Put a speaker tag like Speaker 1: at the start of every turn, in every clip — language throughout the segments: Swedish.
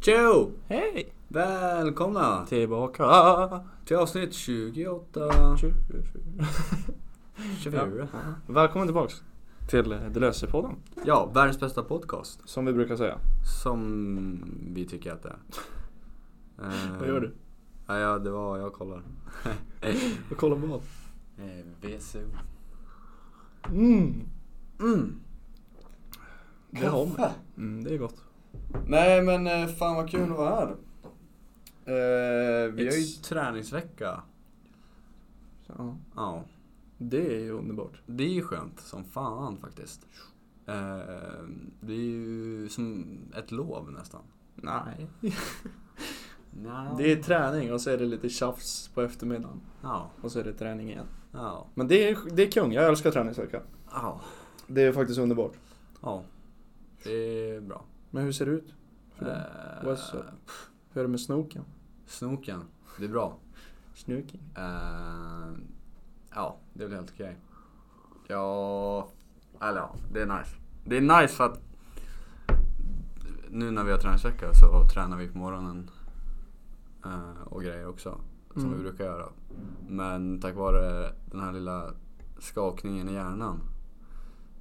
Speaker 1: Tjo!
Speaker 2: Hej!
Speaker 1: Välkomna
Speaker 2: Tillbaka!
Speaker 1: till avsnitt 28... 24.
Speaker 2: Välkommen tillbaks till eh, Det löser podden
Speaker 1: Ja, världens bästa podcast.
Speaker 2: som vi brukar säga.
Speaker 1: Som vi tycker att det är. Eh,
Speaker 2: Vad gör du?
Speaker 1: Ja, ja, det var... Jag kollar.
Speaker 2: Jag kollar
Speaker 1: Eh,
Speaker 2: vad?
Speaker 1: VSO.
Speaker 2: Mm.
Speaker 1: Mm.
Speaker 2: Det har man. Mm, det är gott.
Speaker 1: Nej men eh, fan vad kul att vara här. Eh, vi har ju
Speaker 2: It's-
Speaker 1: träningsvecka.
Speaker 2: Ja.
Speaker 1: Ja.
Speaker 2: Det är ju underbart.
Speaker 1: Det är ju skönt som fan faktiskt. Eh, det är ju som ett lov nästan.
Speaker 2: Nej.
Speaker 1: No.
Speaker 2: Det är träning och så är det lite tjafs på eftermiddagen.
Speaker 1: Ja,
Speaker 2: Och så är det träning igen.
Speaker 1: ja,
Speaker 2: Men det är, det är kung, jag älskar träningsvecka.
Speaker 1: ja,
Speaker 2: Det är faktiskt underbart.
Speaker 1: ja. Det är bra.
Speaker 2: Men hur ser det ut? För dig?
Speaker 1: Eh,
Speaker 2: Vad så? Hur är det med snoken?
Speaker 1: Snoken, det är bra.
Speaker 2: Snoken?
Speaker 1: Eh, ja, det är väl helt okej. Ja, eller ja, det är nice. Det är nice för att nu när vi har träningsvecka så tränar vi på morgonen eh, och grejer också. Som
Speaker 2: Mm.
Speaker 1: vi brukar göra. Men tack vare den här lilla skakningen i hjärnan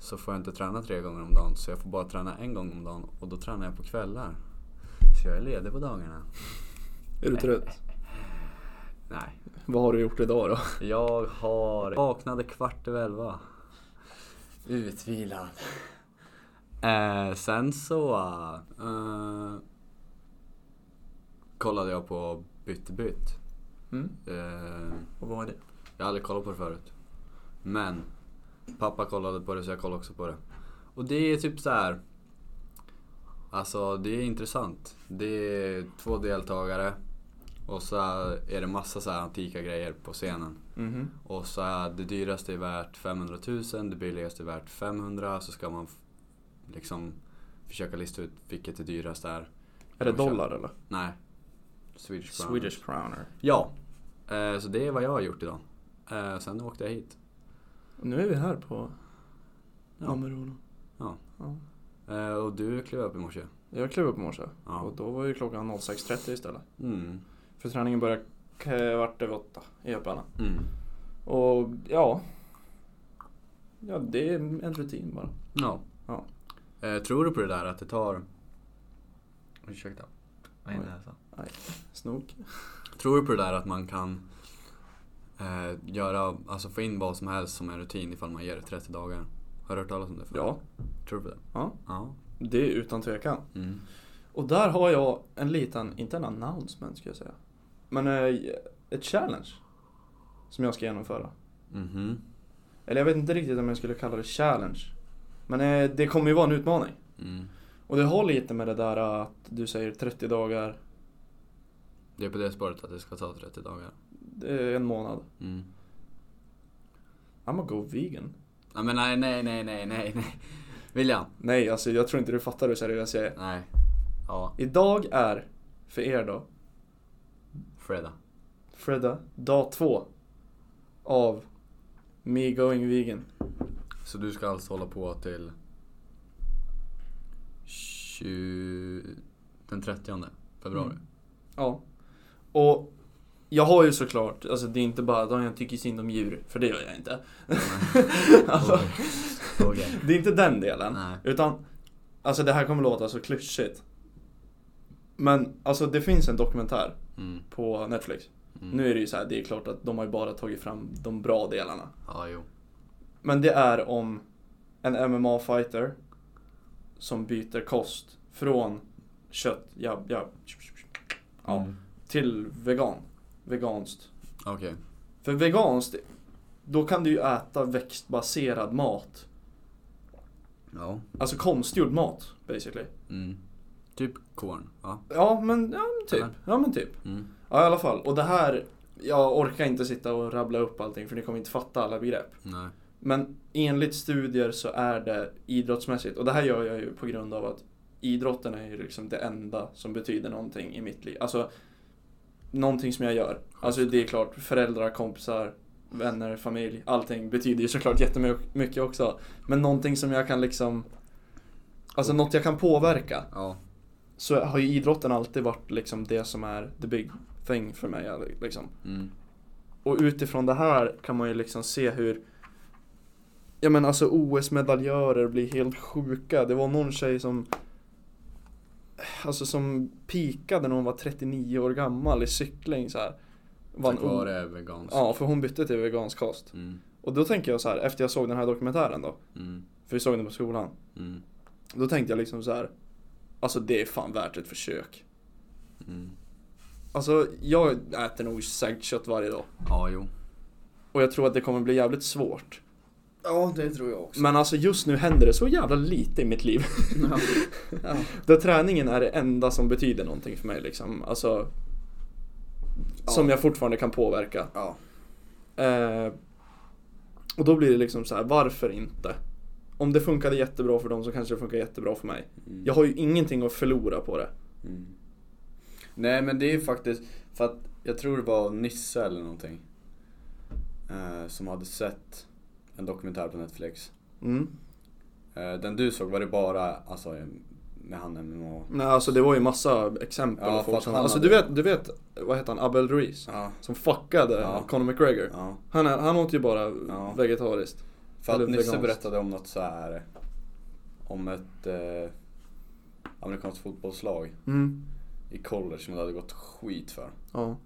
Speaker 1: så får jag inte träna tre gånger om dagen. Så jag får bara träna en gång om dagen och då tränar jag på kvällar. Så jag är ledig på dagarna.
Speaker 2: Är du trött?
Speaker 1: Nej,
Speaker 2: Vad har du gjort idag då?
Speaker 1: Jag har vaknade kvart över elva. Utvilad. Eh, sen så eh, kollade jag på Bytt bytt.
Speaker 2: Mm.
Speaker 1: Eh,
Speaker 2: Och vad var det?
Speaker 1: jag har aldrig kollat på det förut. Men pappa kollade på det så jag kollade också på det. Och det är typ så här. Alltså det är intressant. Det är två deltagare och så är det massa så här antika grejer på scenen.
Speaker 2: Mhm.
Speaker 1: Och så är det dyraste är värt 500 000, det billigaste är värt 500 så ska man f- liksom försöka lista ut vilket det dyraste är.
Speaker 2: Är det
Speaker 1: Och köpa-
Speaker 2: dollar eller?
Speaker 1: Nej. Swedish crown.
Speaker 2: crowner.
Speaker 1: Ja. Eh, så det är vad jag har gjort idag. Eh, sen åkte jag hit.
Speaker 2: Nu är vi här på
Speaker 1: Ja.
Speaker 2: Amerona.
Speaker 1: Ja. Eh, och du klev upp i morse.
Speaker 2: Jag klev upp i morse
Speaker 1: Ja.
Speaker 2: och då var ju klockan 06.30 istället.
Speaker 1: Mm.
Speaker 2: För träningen började kvart över åtta i Öpparna.
Speaker 1: Mm.
Speaker 2: Och ja. Ja, det är en rutin bara.
Speaker 1: Ja.
Speaker 2: Ja.
Speaker 1: Eh, tror du på det där att det tar... Ursäkta.
Speaker 2: Vad är det
Speaker 1: alltså.
Speaker 2: här Snok.
Speaker 1: Tror du på det där att man kan eh, göra, alltså få in vad som helst som en rutin ifall man ger det 30 dagar? Har du hört talas om det? förut?
Speaker 2: Ja,
Speaker 1: Tror du på det?
Speaker 2: Ja.
Speaker 1: Ja.
Speaker 2: det är utan tvekan.
Speaker 1: Mm.
Speaker 2: Och där har jag en liten, inte en announcement ska jag säga. Men eh, ett challenge. Som jag ska genomföra.
Speaker 1: Mhm.
Speaker 2: Eller jag vet inte riktigt om jag skulle kalla det challenge. Men eh, det kommer ju vara en utmaning.
Speaker 1: Mm.
Speaker 2: Och det har lite med det där att du säger 30 dagar,
Speaker 1: Det är på det spåret att det ska ta 30 dagar.
Speaker 2: eh, en månad.
Speaker 1: Mm.
Speaker 2: I'm a go vegan.
Speaker 1: Nej men nej, nej, nej, nej, nej, nej. William.
Speaker 2: Nej, alltså jag tror inte du fattar hur seriös jag är.
Speaker 1: Nej. Ja,
Speaker 2: Idag är, för er då,
Speaker 1: fredag.
Speaker 2: Fredda, dag två av me going vegan.
Speaker 1: Så du ska alltså hålla på till 20... den 30 februari?
Speaker 2: Ja. Och jag har ju såklart, alltså det är inte bara att jag tycker synd om djur, för det gör jag inte. alltså,
Speaker 1: Okej. Okej.
Speaker 2: det är inte den delen.
Speaker 1: Nej.
Speaker 2: Utan, alltså det här kommer låta så klyschigt. Men alltså det finns en dokumentär
Speaker 1: Mm.
Speaker 2: på Netflix.
Speaker 1: Mm.
Speaker 2: Nu är det ju så här, det är klart att de har ju bara tagit fram de bra delarna.
Speaker 1: Ja, jo.
Speaker 2: Men det är om en MMA-fighter som byter kost från kött, ja, ja, ja,
Speaker 1: Mm.
Speaker 2: till vegan. Veganskt.
Speaker 1: Okej.
Speaker 2: För veganskt, då kan du ju äta växtbaserad mat.
Speaker 1: Ja.
Speaker 2: Alltså konstgjord mat basically.
Speaker 1: Mm. Typ korn, va?
Speaker 2: Ja men, ja, men typ.
Speaker 1: Eller?
Speaker 2: Ja men typ.
Speaker 1: Mm.
Speaker 2: Ja i alla fall. Och det här, jag orkar inte sitta och rabbla upp allting för ni kommer inte fatta alla begrepp.
Speaker 1: Nej.
Speaker 2: Men enligt studier så är det idrottsmässigt, och det här gör jag ju på grund av att idrotten är ju liksom det enda som betyder någonting i mitt liv. Alltså, någonting som jag gör. Alltså det är klart, föräldrar, kompisar, vänner, familj, allting betyder ju såklart jättemycket också. Men någonting som jag kan liksom, alltså något jag kan påverka.
Speaker 1: Ja.
Speaker 2: så har ju idrotten alltid varit liksom det som är the big thing för mig. Liksom.
Speaker 1: Mm.
Speaker 2: Och utifrån det här kan man ju liksom se hur Ja men alltså OS-medaljörer blir helt sjuka. Det var någon tjej som Alltså som pikade när hon var 39 år gammal i cykling så här. Vann
Speaker 1: Tack vare vegansk.
Speaker 2: Ja, för hon bytte till vegansk kost.
Speaker 1: Mm.
Speaker 2: Och då tänker jag så här, efter jag såg den här dokumentären då,
Speaker 1: Mm.
Speaker 2: för vi såg den på skolan.
Speaker 1: Mm.
Speaker 2: Då tänkte jag liksom så här, alltså det är fan värt ett försök.
Speaker 1: Mm.
Speaker 2: Alltså jag äter nog säkert kött varje dag.
Speaker 1: Ja, jo.
Speaker 2: Och jag tror att det kommer bli jävligt svårt.
Speaker 1: Ja, det tror jag också.
Speaker 2: Men alltså just nu händer det så jävla lite i mitt liv.
Speaker 1: ja.
Speaker 2: Där träningen är det enda som betyder någonting för mig liksom. Alltså, Som
Speaker 1: Ja.
Speaker 2: jag fortfarande kan påverka.
Speaker 1: ja.
Speaker 2: Eh, och då blir det liksom så här, varför inte? Om det funkade jättebra för dem så kanske det funkar jättebra för mig.
Speaker 1: Mm.
Speaker 2: Jag har ju ingenting att förlora på det.
Speaker 1: Mm. Nej men det är faktiskt, för att jag tror det var Nisse eller någonting. Eh, som hade sett en dokumentär på Netflix.
Speaker 2: Mm.
Speaker 1: Eh, den du såg var det bara, alltså med han MMA.
Speaker 2: Nej, alltså det var ju massa exempel.
Speaker 1: Ja,
Speaker 2: och
Speaker 1: fast
Speaker 2: folk som,
Speaker 1: han
Speaker 2: alltså du
Speaker 1: hade-
Speaker 2: vet, du vet, vad heter han, Abel Ruiz?
Speaker 1: Ja.
Speaker 2: Som fuckade
Speaker 1: Ja.
Speaker 2: Conor McGregor.
Speaker 1: ja.
Speaker 2: Han, är, han åt ju bara
Speaker 1: Ja.
Speaker 2: vegetariskt.
Speaker 1: För att
Speaker 2: Eller
Speaker 1: Nisse
Speaker 2: veganskt.
Speaker 1: berättade om något så här Om ett eh, amerikanskt fotbollslag
Speaker 2: Mm.
Speaker 1: i college som det hade gått skit för.
Speaker 2: Ja.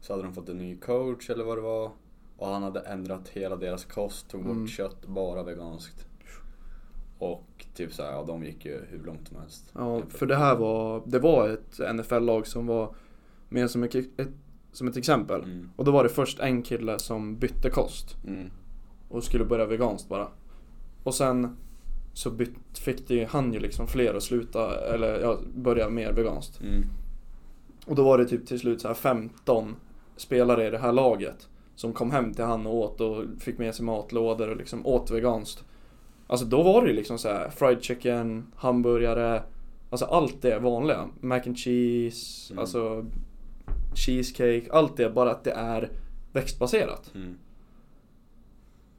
Speaker 1: Så hade de fått en ny coach eller vad det var. Och han hade ändrat hela deras kost, tog bort
Speaker 2: Mm.
Speaker 1: kött, bara veganskt. Och typ såhär, ja de gick ju hur långt som helst.
Speaker 2: ja, för det här var, det var ett NFL-lag som var med som ett, ett, som ett exempel.
Speaker 1: Mm.
Speaker 2: Och då var det först en kille som bytte kost
Speaker 1: Mm.
Speaker 2: och skulle börja veganskt bara. Och sen så bytt, fick det, han ju liksom fler att sluta, eller ja, börja mer veganskt.
Speaker 1: Mm.
Speaker 2: Och då var det typ till slut så här 15 spelare i det här laget som kom hem till han och åt och fick med sig matlådor och liksom åt veganskt. Alltså då var det ju liksom så här fried chicken, hamburgare, alltså allt det vanliga. Mac and cheese,
Speaker 1: Mm.
Speaker 2: alltså cheesecake, allt det bara att det är växtbaserat.
Speaker 1: Mm.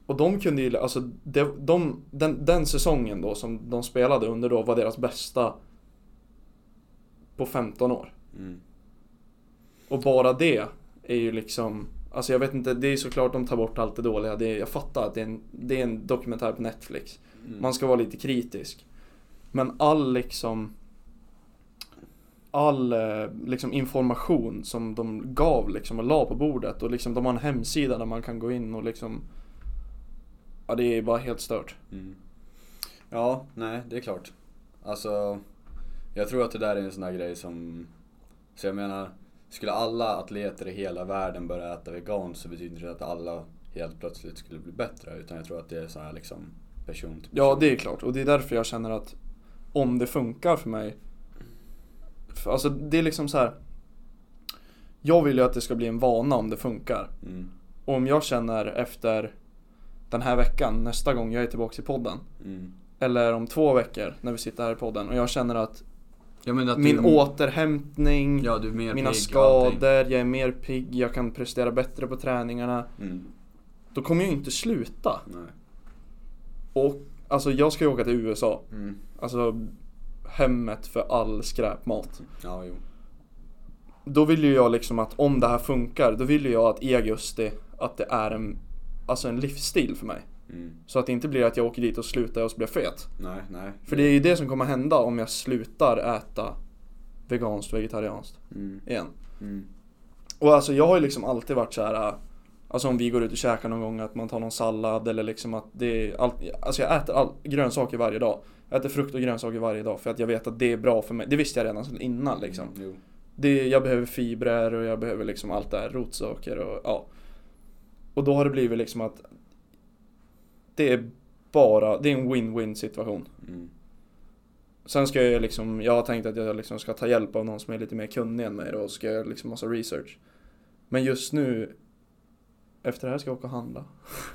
Speaker 2: Och de kunde ju, alltså de, de, den, den säsongen då som de spelade under då var deras bästa på 15 år.
Speaker 1: Mm.
Speaker 2: Och bara det är ju liksom Alltså jag vet inte, det är såklart de tar bort allt det dåliga. Det är, jag fattar att det är, en, det är en dokumentär på Netflix.
Speaker 1: Mm.
Speaker 2: Man ska vara lite kritisk. Men all liksom All eh, liksom information som de gav liksom och la på bordet och liksom de har en hemsida där man kan gå in och liksom Ja det är bara helt stört.
Speaker 1: Mm. Ja, nej det är klart. Alltså, jag tror att det där är en sån där grej som... Så jag menar, skulle alla atleter i hela världen börja äta vegan så betyder det att alla helt plötsligt skulle bli bättre. Utan jag tror att det är så här liksom person till
Speaker 2: Ja
Speaker 1: person.
Speaker 2: det är klart och det är därför jag känner att om det funkar för mig för, Alltså det är liksom så här. Jag vill ju att det ska bli en vana om det funkar.
Speaker 1: Mm,
Speaker 2: Och om jag känner efter den här veckan, nästa gång jag är tillbaka i podden.
Speaker 1: mm.
Speaker 2: Eller om två veckor när vi sitter här i podden och jag känner att
Speaker 1: Jag menar att
Speaker 2: min
Speaker 1: du,
Speaker 2: återhämtning,
Speaker 1: ja, du är mer
Speaker 2: mina
Speaker 1: pigg och allting.
Speaker 2: skador, jag är mer pigg, jag kan prestera bättre på träningarna.
Speaker 1: Mm,
Speaker 2: Då kommer jag ju inte sluta.
Speaker 1: nej.
Speaker 2: Och alltså jag ska ju åka till USA.
Speaker 1: Mm.
Speaker 2: Alltså hemmet för all skräpmat.
Speaker 1: Ja, jo.
Speaker 2: Då vill ju jag liksom att om det här funkar, då vill ju jag att i augusti att det är en, alltså en livsstil för mig.
Speaker 1: Mm.
Speaker 2: Så att det inte blir att jag åker dit och slutar och så blir jag fet.
Speaker 1: Nej, nej.
Speaker 2: För det är ju det som kommer hända om jag slutar äta veganskt vegetarianskt
Speaker 1: Mm,
Speaker 2: igen.
Speaker 1: mm,
Speaker 2: Och alltså jag har ju liksom alltid varit så här. äh, Alltså om vi går ut och käkar någon gång att man tar någon sallad eller liksom att det är allt, Alltså jag äter all, grönsaker varje dag. Jag äter frukt och grönsaker varje dag för att jag vet att det är bra för mig. Det visste jag redan sedan innan liksom.
Speaker 1: mm, Jo.
Speaker 2: Det, jag behöver fibrer och jag behöver liksom allt det här, rotsaker och ja. Och då har det blivit liksom att det är bara, det är en win-win situation.
Speaker 1: Mm,
Speaker 2: Sen ska jag ju liksom, jag har tänkt att jag liksom ska ta hjälp av någon som är lite mer kunnig än mig då och ska göra liksom massa research. Men just nu, efter det här ska jag åka och handla.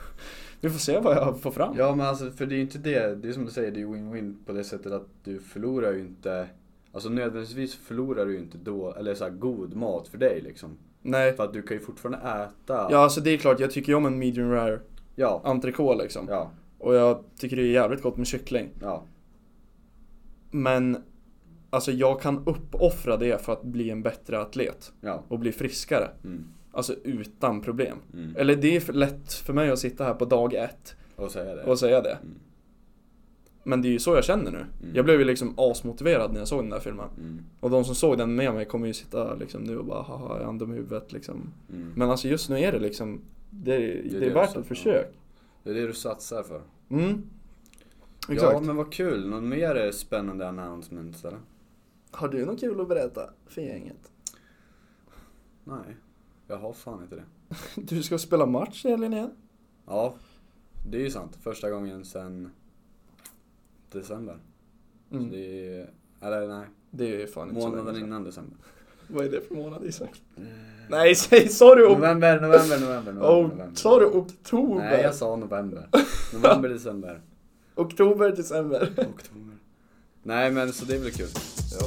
Speaker 2: Vi får se vad jag får fram.
Speaker 1: Ja men alltså för det är ju inte det, det är som du säger, det är win-win på det sättet att du förlorar ju inte Alltså nödvändigtvis förlorar du ju inte då, eller så här, god mat för dig liksom.
Speaker 2: Nej,
Speaker 1: För att du kan ju fortfarande äta.
Speaker 2: ja alltså det är klart jag tycker ju om en medium rare
Speaker 1: Ja.
Speaker 2: entrecote liksom.
Speaker 1: Ja.
Speaker 2: Och jag tycker det är jävligt gott med kyckling.
Speaker 1: Ja.
Speaker 2: Men alltså jag kan uppoffra det för att bli en bättre atlet
Speaker 1: Ja.
Speaker 2: och bli friskare.
Speaker 1: Mm.
Speaker 2: Alltså utan problem.
Speaker 1: Mm.
Speaker 2: Eller det är för lätt för mig att sitta här på dag ett
Speaker 1: Och säga det.
Speaker 2: och säga det.
Speaker 1: Mm.
Speaker 2: Men det är ju så jag känner nu.
Speaker 1: Mm.
Speaker 2: Jag blev ju liksom asmotiverad när jag såg den där filmen.
Speaker 1: Mm.
Speaker 2: Och de som såg den med mig kommer ju sitta liksom nu och bara haha, är han dum i huvudet liksom.
Speaker 1: Mm.
Speaker 2: Men alltså just nu är det liksom, det är, det är,
Speaker 1: det
Speaker 2: värt
Speaker 1: du
Speaker 2: ett
Speaker 1: sa.
Speaker 2: försök.
Speaker 1: Det är det du satsar för.
Speaker 2: Mm. Exakt.
Speaker 1: Ja men vad kul, någon mer spännande announcement eller?
Speaker 2: Har du något kul att berätta för gänget?
Speaker 1: Nej, jag har fan inte det.
Speaker 2: Du ska spela match i helgen igen?
Speaker 1: Ja, det är ju sant. Första gången sen december. Så
Speaker 2: Mm.
Speaker 1: Alltså, det är, eller nej,
Speaker 2: Det är fan inte så
Speaker 1: månaden
Speaker 2: länge sedan.
Speaker 1: innan december.
Speaker 2: Vad är det för månad Isak? Nej, säg, sa du ok-
Speaker 1: November, november, november, november.
Speaker 2: oh,
Speaker 1: november.
Speaker 2: Sa du oktober?
Speaker 1: Nej, jag sa november. November, december,
Speaker 2: Oktober, december.
Speaker 1: oktober. Nej men så det är väl kul.
Speaker 2: Ja.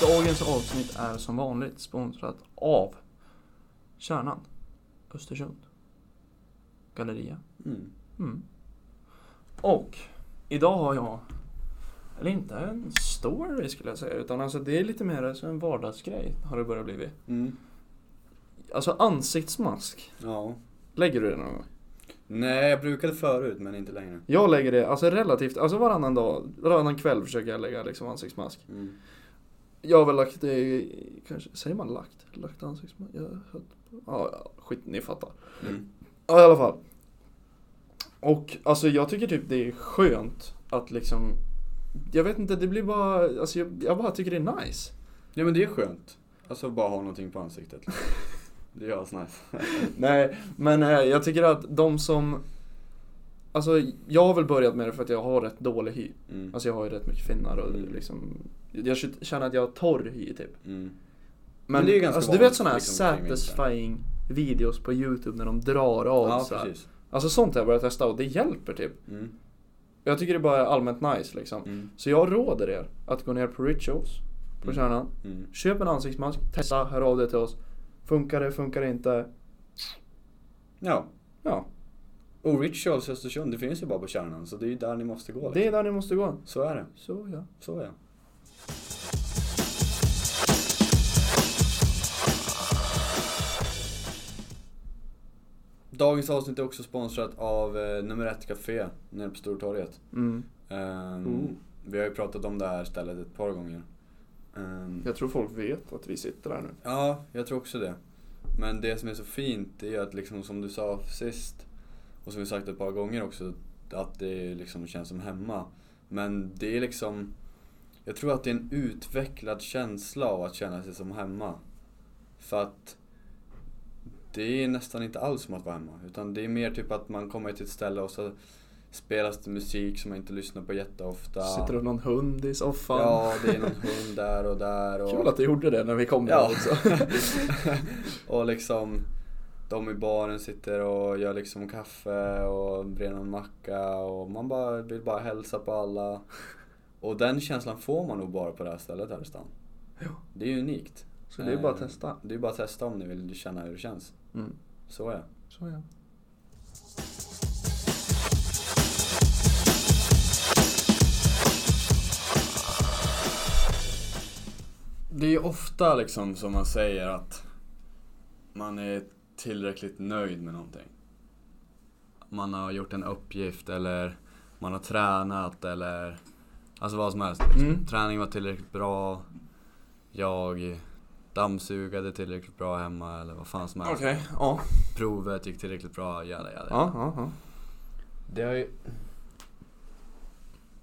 Speaker 2: Dagens avsnitt är som vanligt sponsrat av Kärnan Östersund Galleria.
Speaker 1: Mm.
Speaker 2: Mm. Och idag har jag, eller inte en story skulle jag säga, utan alltså det är lite mer som en vardagsgrej har det börjat blivit.
Speaker 1: Mm.
Speaker 2: Alltså ansiktsmask,
Speaker 1: Ja.
Speaker 2: lägger du det någon gång?
Speaker 1: Nej, jag brukade förut men inte längre.
Speaker 2: Jag lägger det alltså relativt, alltså varannan dag, varannan kväll försöker jag lägga liksom ansiktsmask.
Speaker 1: Mm.
Speaker 2: Jag har väl lagt det, i- kanske, säger man lagt? Lagt ansiktsmask? Jag har ja, ja, skit, ni fattar.
Speaker 1: Mm.
Speaker 2: Ja, i alla fall. Och alltså jag tycker typ det är skönt att liksom, jag vet inte, det blir bara, alltså jag, jag bara tycker det är nice.
Speaker 1: Ja men det är skönt. Alltså bara ha någonting på ansiktet. liksom. Det är asnice.
Speaker 2: Nej, men eh, jag tycker att de som, alltså jag har väl börjat med det för att jag har rätt dålig hy.
Speaker 1: Mm.
Speaker 2: Alltså jag har ju rätt mycket finnar och
Speaker 1: Mm.
Speaker 2: liksom Jag känner att jag har torr hy typ
Speaker 1: Mm.
Speaker 2: Men,
Speaker 1: Men det är ju ganska
Speaker 2: alltså, du
Speaker 1: vanligt,
Speaker 2: vet sådana här
Speaker 1: liksom, kring vintern.
Speaker 2: satisfying videos på youtube när de drar av
Speaker 1: Ja
Speaker 2: så här.
Speaker 1: precis.
Speaker 2: Alltså sånt har jag börjat testa och det hjälper typ
Speaker 1: Mm.
Speaker 2: Jag tycker det bara är allmänt nice liksom
Speaker 1: Mm.
Speaker 2: Så jag råder er att gå ner på Rituals på
Speaker 1: Mm.
Speaker 2: Kärnan
Speaker 1: Mm.
Speaker 2: Köp en ansiktsmask, testa, hör av dig till oss Funkar det, funkar det inte?
Speaker 1: Ja.
Speaker 2: Ja,
Speaker 1: Och Rituals i Östersund, det finns ju bara på kärnan så det är ju där ni måste gå. Liksom.
Speaker 2: det är där ni måste gå
Speaker 1: Så är det.
Speaker 2: Så ja
Speaker 1: Så ja. Dagens avsnitt är också sponsrat av eh, nummer ett café nere på Stortorget.
Speaker 2: mm.
Speaker 1: Ehm,
Speaker 2: Ooh.
Speaker 1: Vi har ju pratat om det här stället ett par gånger. Ehm,
Speaker 2: Jag tror folk vet att vi sitter där nu
Speaker 1: Ja, jag tror också det. Men det som är så fint det är att liksom som du sa sist och som vi sagt ett par gånger också att det liksom känns som hemma. Men det är liksom jag tror att det är en utvecklad känsla av att känna sig som hemma. För att det är nästan inte alls som att vara hemma. Utan det är mer typ att man kommer till ett ställe och så spelas det musik som man inte lyssnar på jätteofta.
Speaker 2: Sitter det någon hund i soffan?
Speaker 1: Ja, det är någon hund där och där. Och...
Speaker 2: Kul att du gjorde det när vi kom
Speaker 1: Ja.
Speaker 2: där också.
Speaker 1: och liksom de i baren sitter och gör liksom kaffe och brer någon macka och man bara, vill bara hälsa på alla. Och den känslan får man nog bara på det här stället här i stan.
Speaker 2: Ja.
Speaker 1: Det är ju unikt.
Speaker 2: Så det är bara att
Speaker 1: Eh,
Speaker 2: testa.
Speaker 1: Det är bara att testa om ni vill känna hur det känns.
Speaker 2: Mm.
Speaker 1: Så ja.
Speaker 2: Så ja.
Speaker 1: Det är ofta liksom som man säger att man är tillräckligt nöjd med någonting. Man har gjort en uppgift eller man har tränat eller alltså vad som helst. Liksom.
Speaker 2: Mm.
Speaker 1: Träning var tillräckligt bra. Jag dammsugade tillräckligt bra hemma eller vad fan som helst.
Speaker 2: ja.
Speaker 1: Provet gick tillräckligt bra, jada jada.
Speaker 2: Ja, ja, ja.
Speaker 1: Det har ju...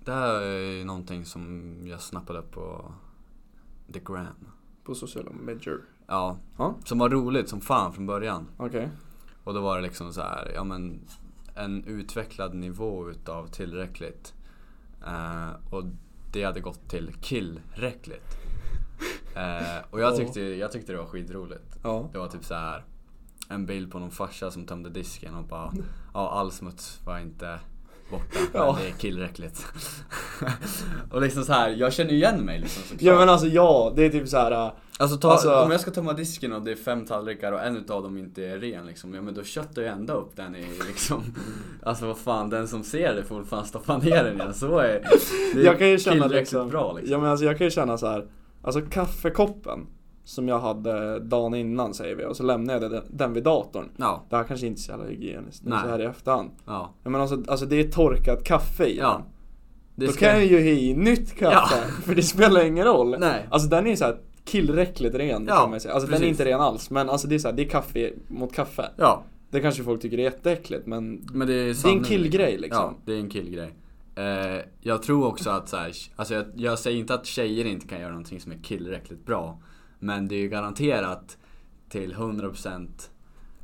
Speaker 1: Det här är ju någonting som jag snappade upp på the gram.
Speaker 2: På sociala medier.
Speaker 1: Ja.
Speaker 2: Ja.
Speaker 1: Som var roligt som fan från början.
Speaker 2: Okej.
Speaker 1: Och då var det liksom så här, ja men en utvecklad nivå utav tillräckligt. Eh, och det hade gått till killräckligt. Eh, och jag
Speaker 2: Ja.
Speaker 1: tyckte, jag tyckte det var skitroligt.
Speaker 2: Ja.
Speaker 1: Det var typ så här en bild på någon farsa som tömde disken och bara, ja all smuts var inte borta.
Speaker 2: Ja.
Speaker 1: Men det är tillräckligt. och liksom så här, jag känner ju igen mig liksom såklart.
Speaker 2: Ja men alltså ja, det är typ så här. äh,
Speaker 1: Alltså, ta,
Speaker 2: Alltså-
Speaker 1: om jag ska tömma disken och det är fem tallrikar och en utav dem inte är ren liksom, ja men då köttar jag ända upp den i liksom Alltså vad fan, den som ser det får fan stoppa ner den igen. Så är det är
Speaker 2: jag kan ju känna
Speaker 1: tillräckligt
Speaker 2: liksom,
Speaker 1: bra liksom.
Speaker 2: Ja men alltså jag kan ju känna så här. Alltså kaffekoppen som jag hade dagen innan säger vi och så lämnade jag den, den vid datorn.
Speaker 1: Ja,
Speaker 2: Det här kanske inte är så jävla hygieniskt nu
Speaker 1: Nej.
Speaker 2: så här i efterhand.
Speaker 1: ja,
Speaker 2: Ja, men alltså, alltså det är torkat kaffe i
Speaker 1: ja.
Speaker 2: den.
Speaker 1: Det
Speaker 2: Då kan jag ju ha i nytt kaffe.
Speaker 1: Ja.
Speaker 2: För det spelar ingen roll.
Speaker 1: Nej.
Speaker 2: Alltså den är ju såhär tillräckligt ren
Speaker 1: Ja,
Speaker 2: kan man ju säga. Alltså den är
Speaker 1: precis.
Speaker 2: inte ren alls. Men alltså det är så här, det är kaffe mot kaffe.
Speaker 1: Ja,
Speaker 2: Det kanske folk tycker är jätteäckligt men
Speaker 1: men det är,
Speaker 2: det är
Speaker 1: sanning,
Speaker 2: en killgrej liksom.
Speaker 1: Ja, det är en killgrej. Eh, jag tror också att så här, alltså jag, jag säger inte att tjejer inte kan göra någonting som är tillräckligt bra. Men det är ju garanterat till 100%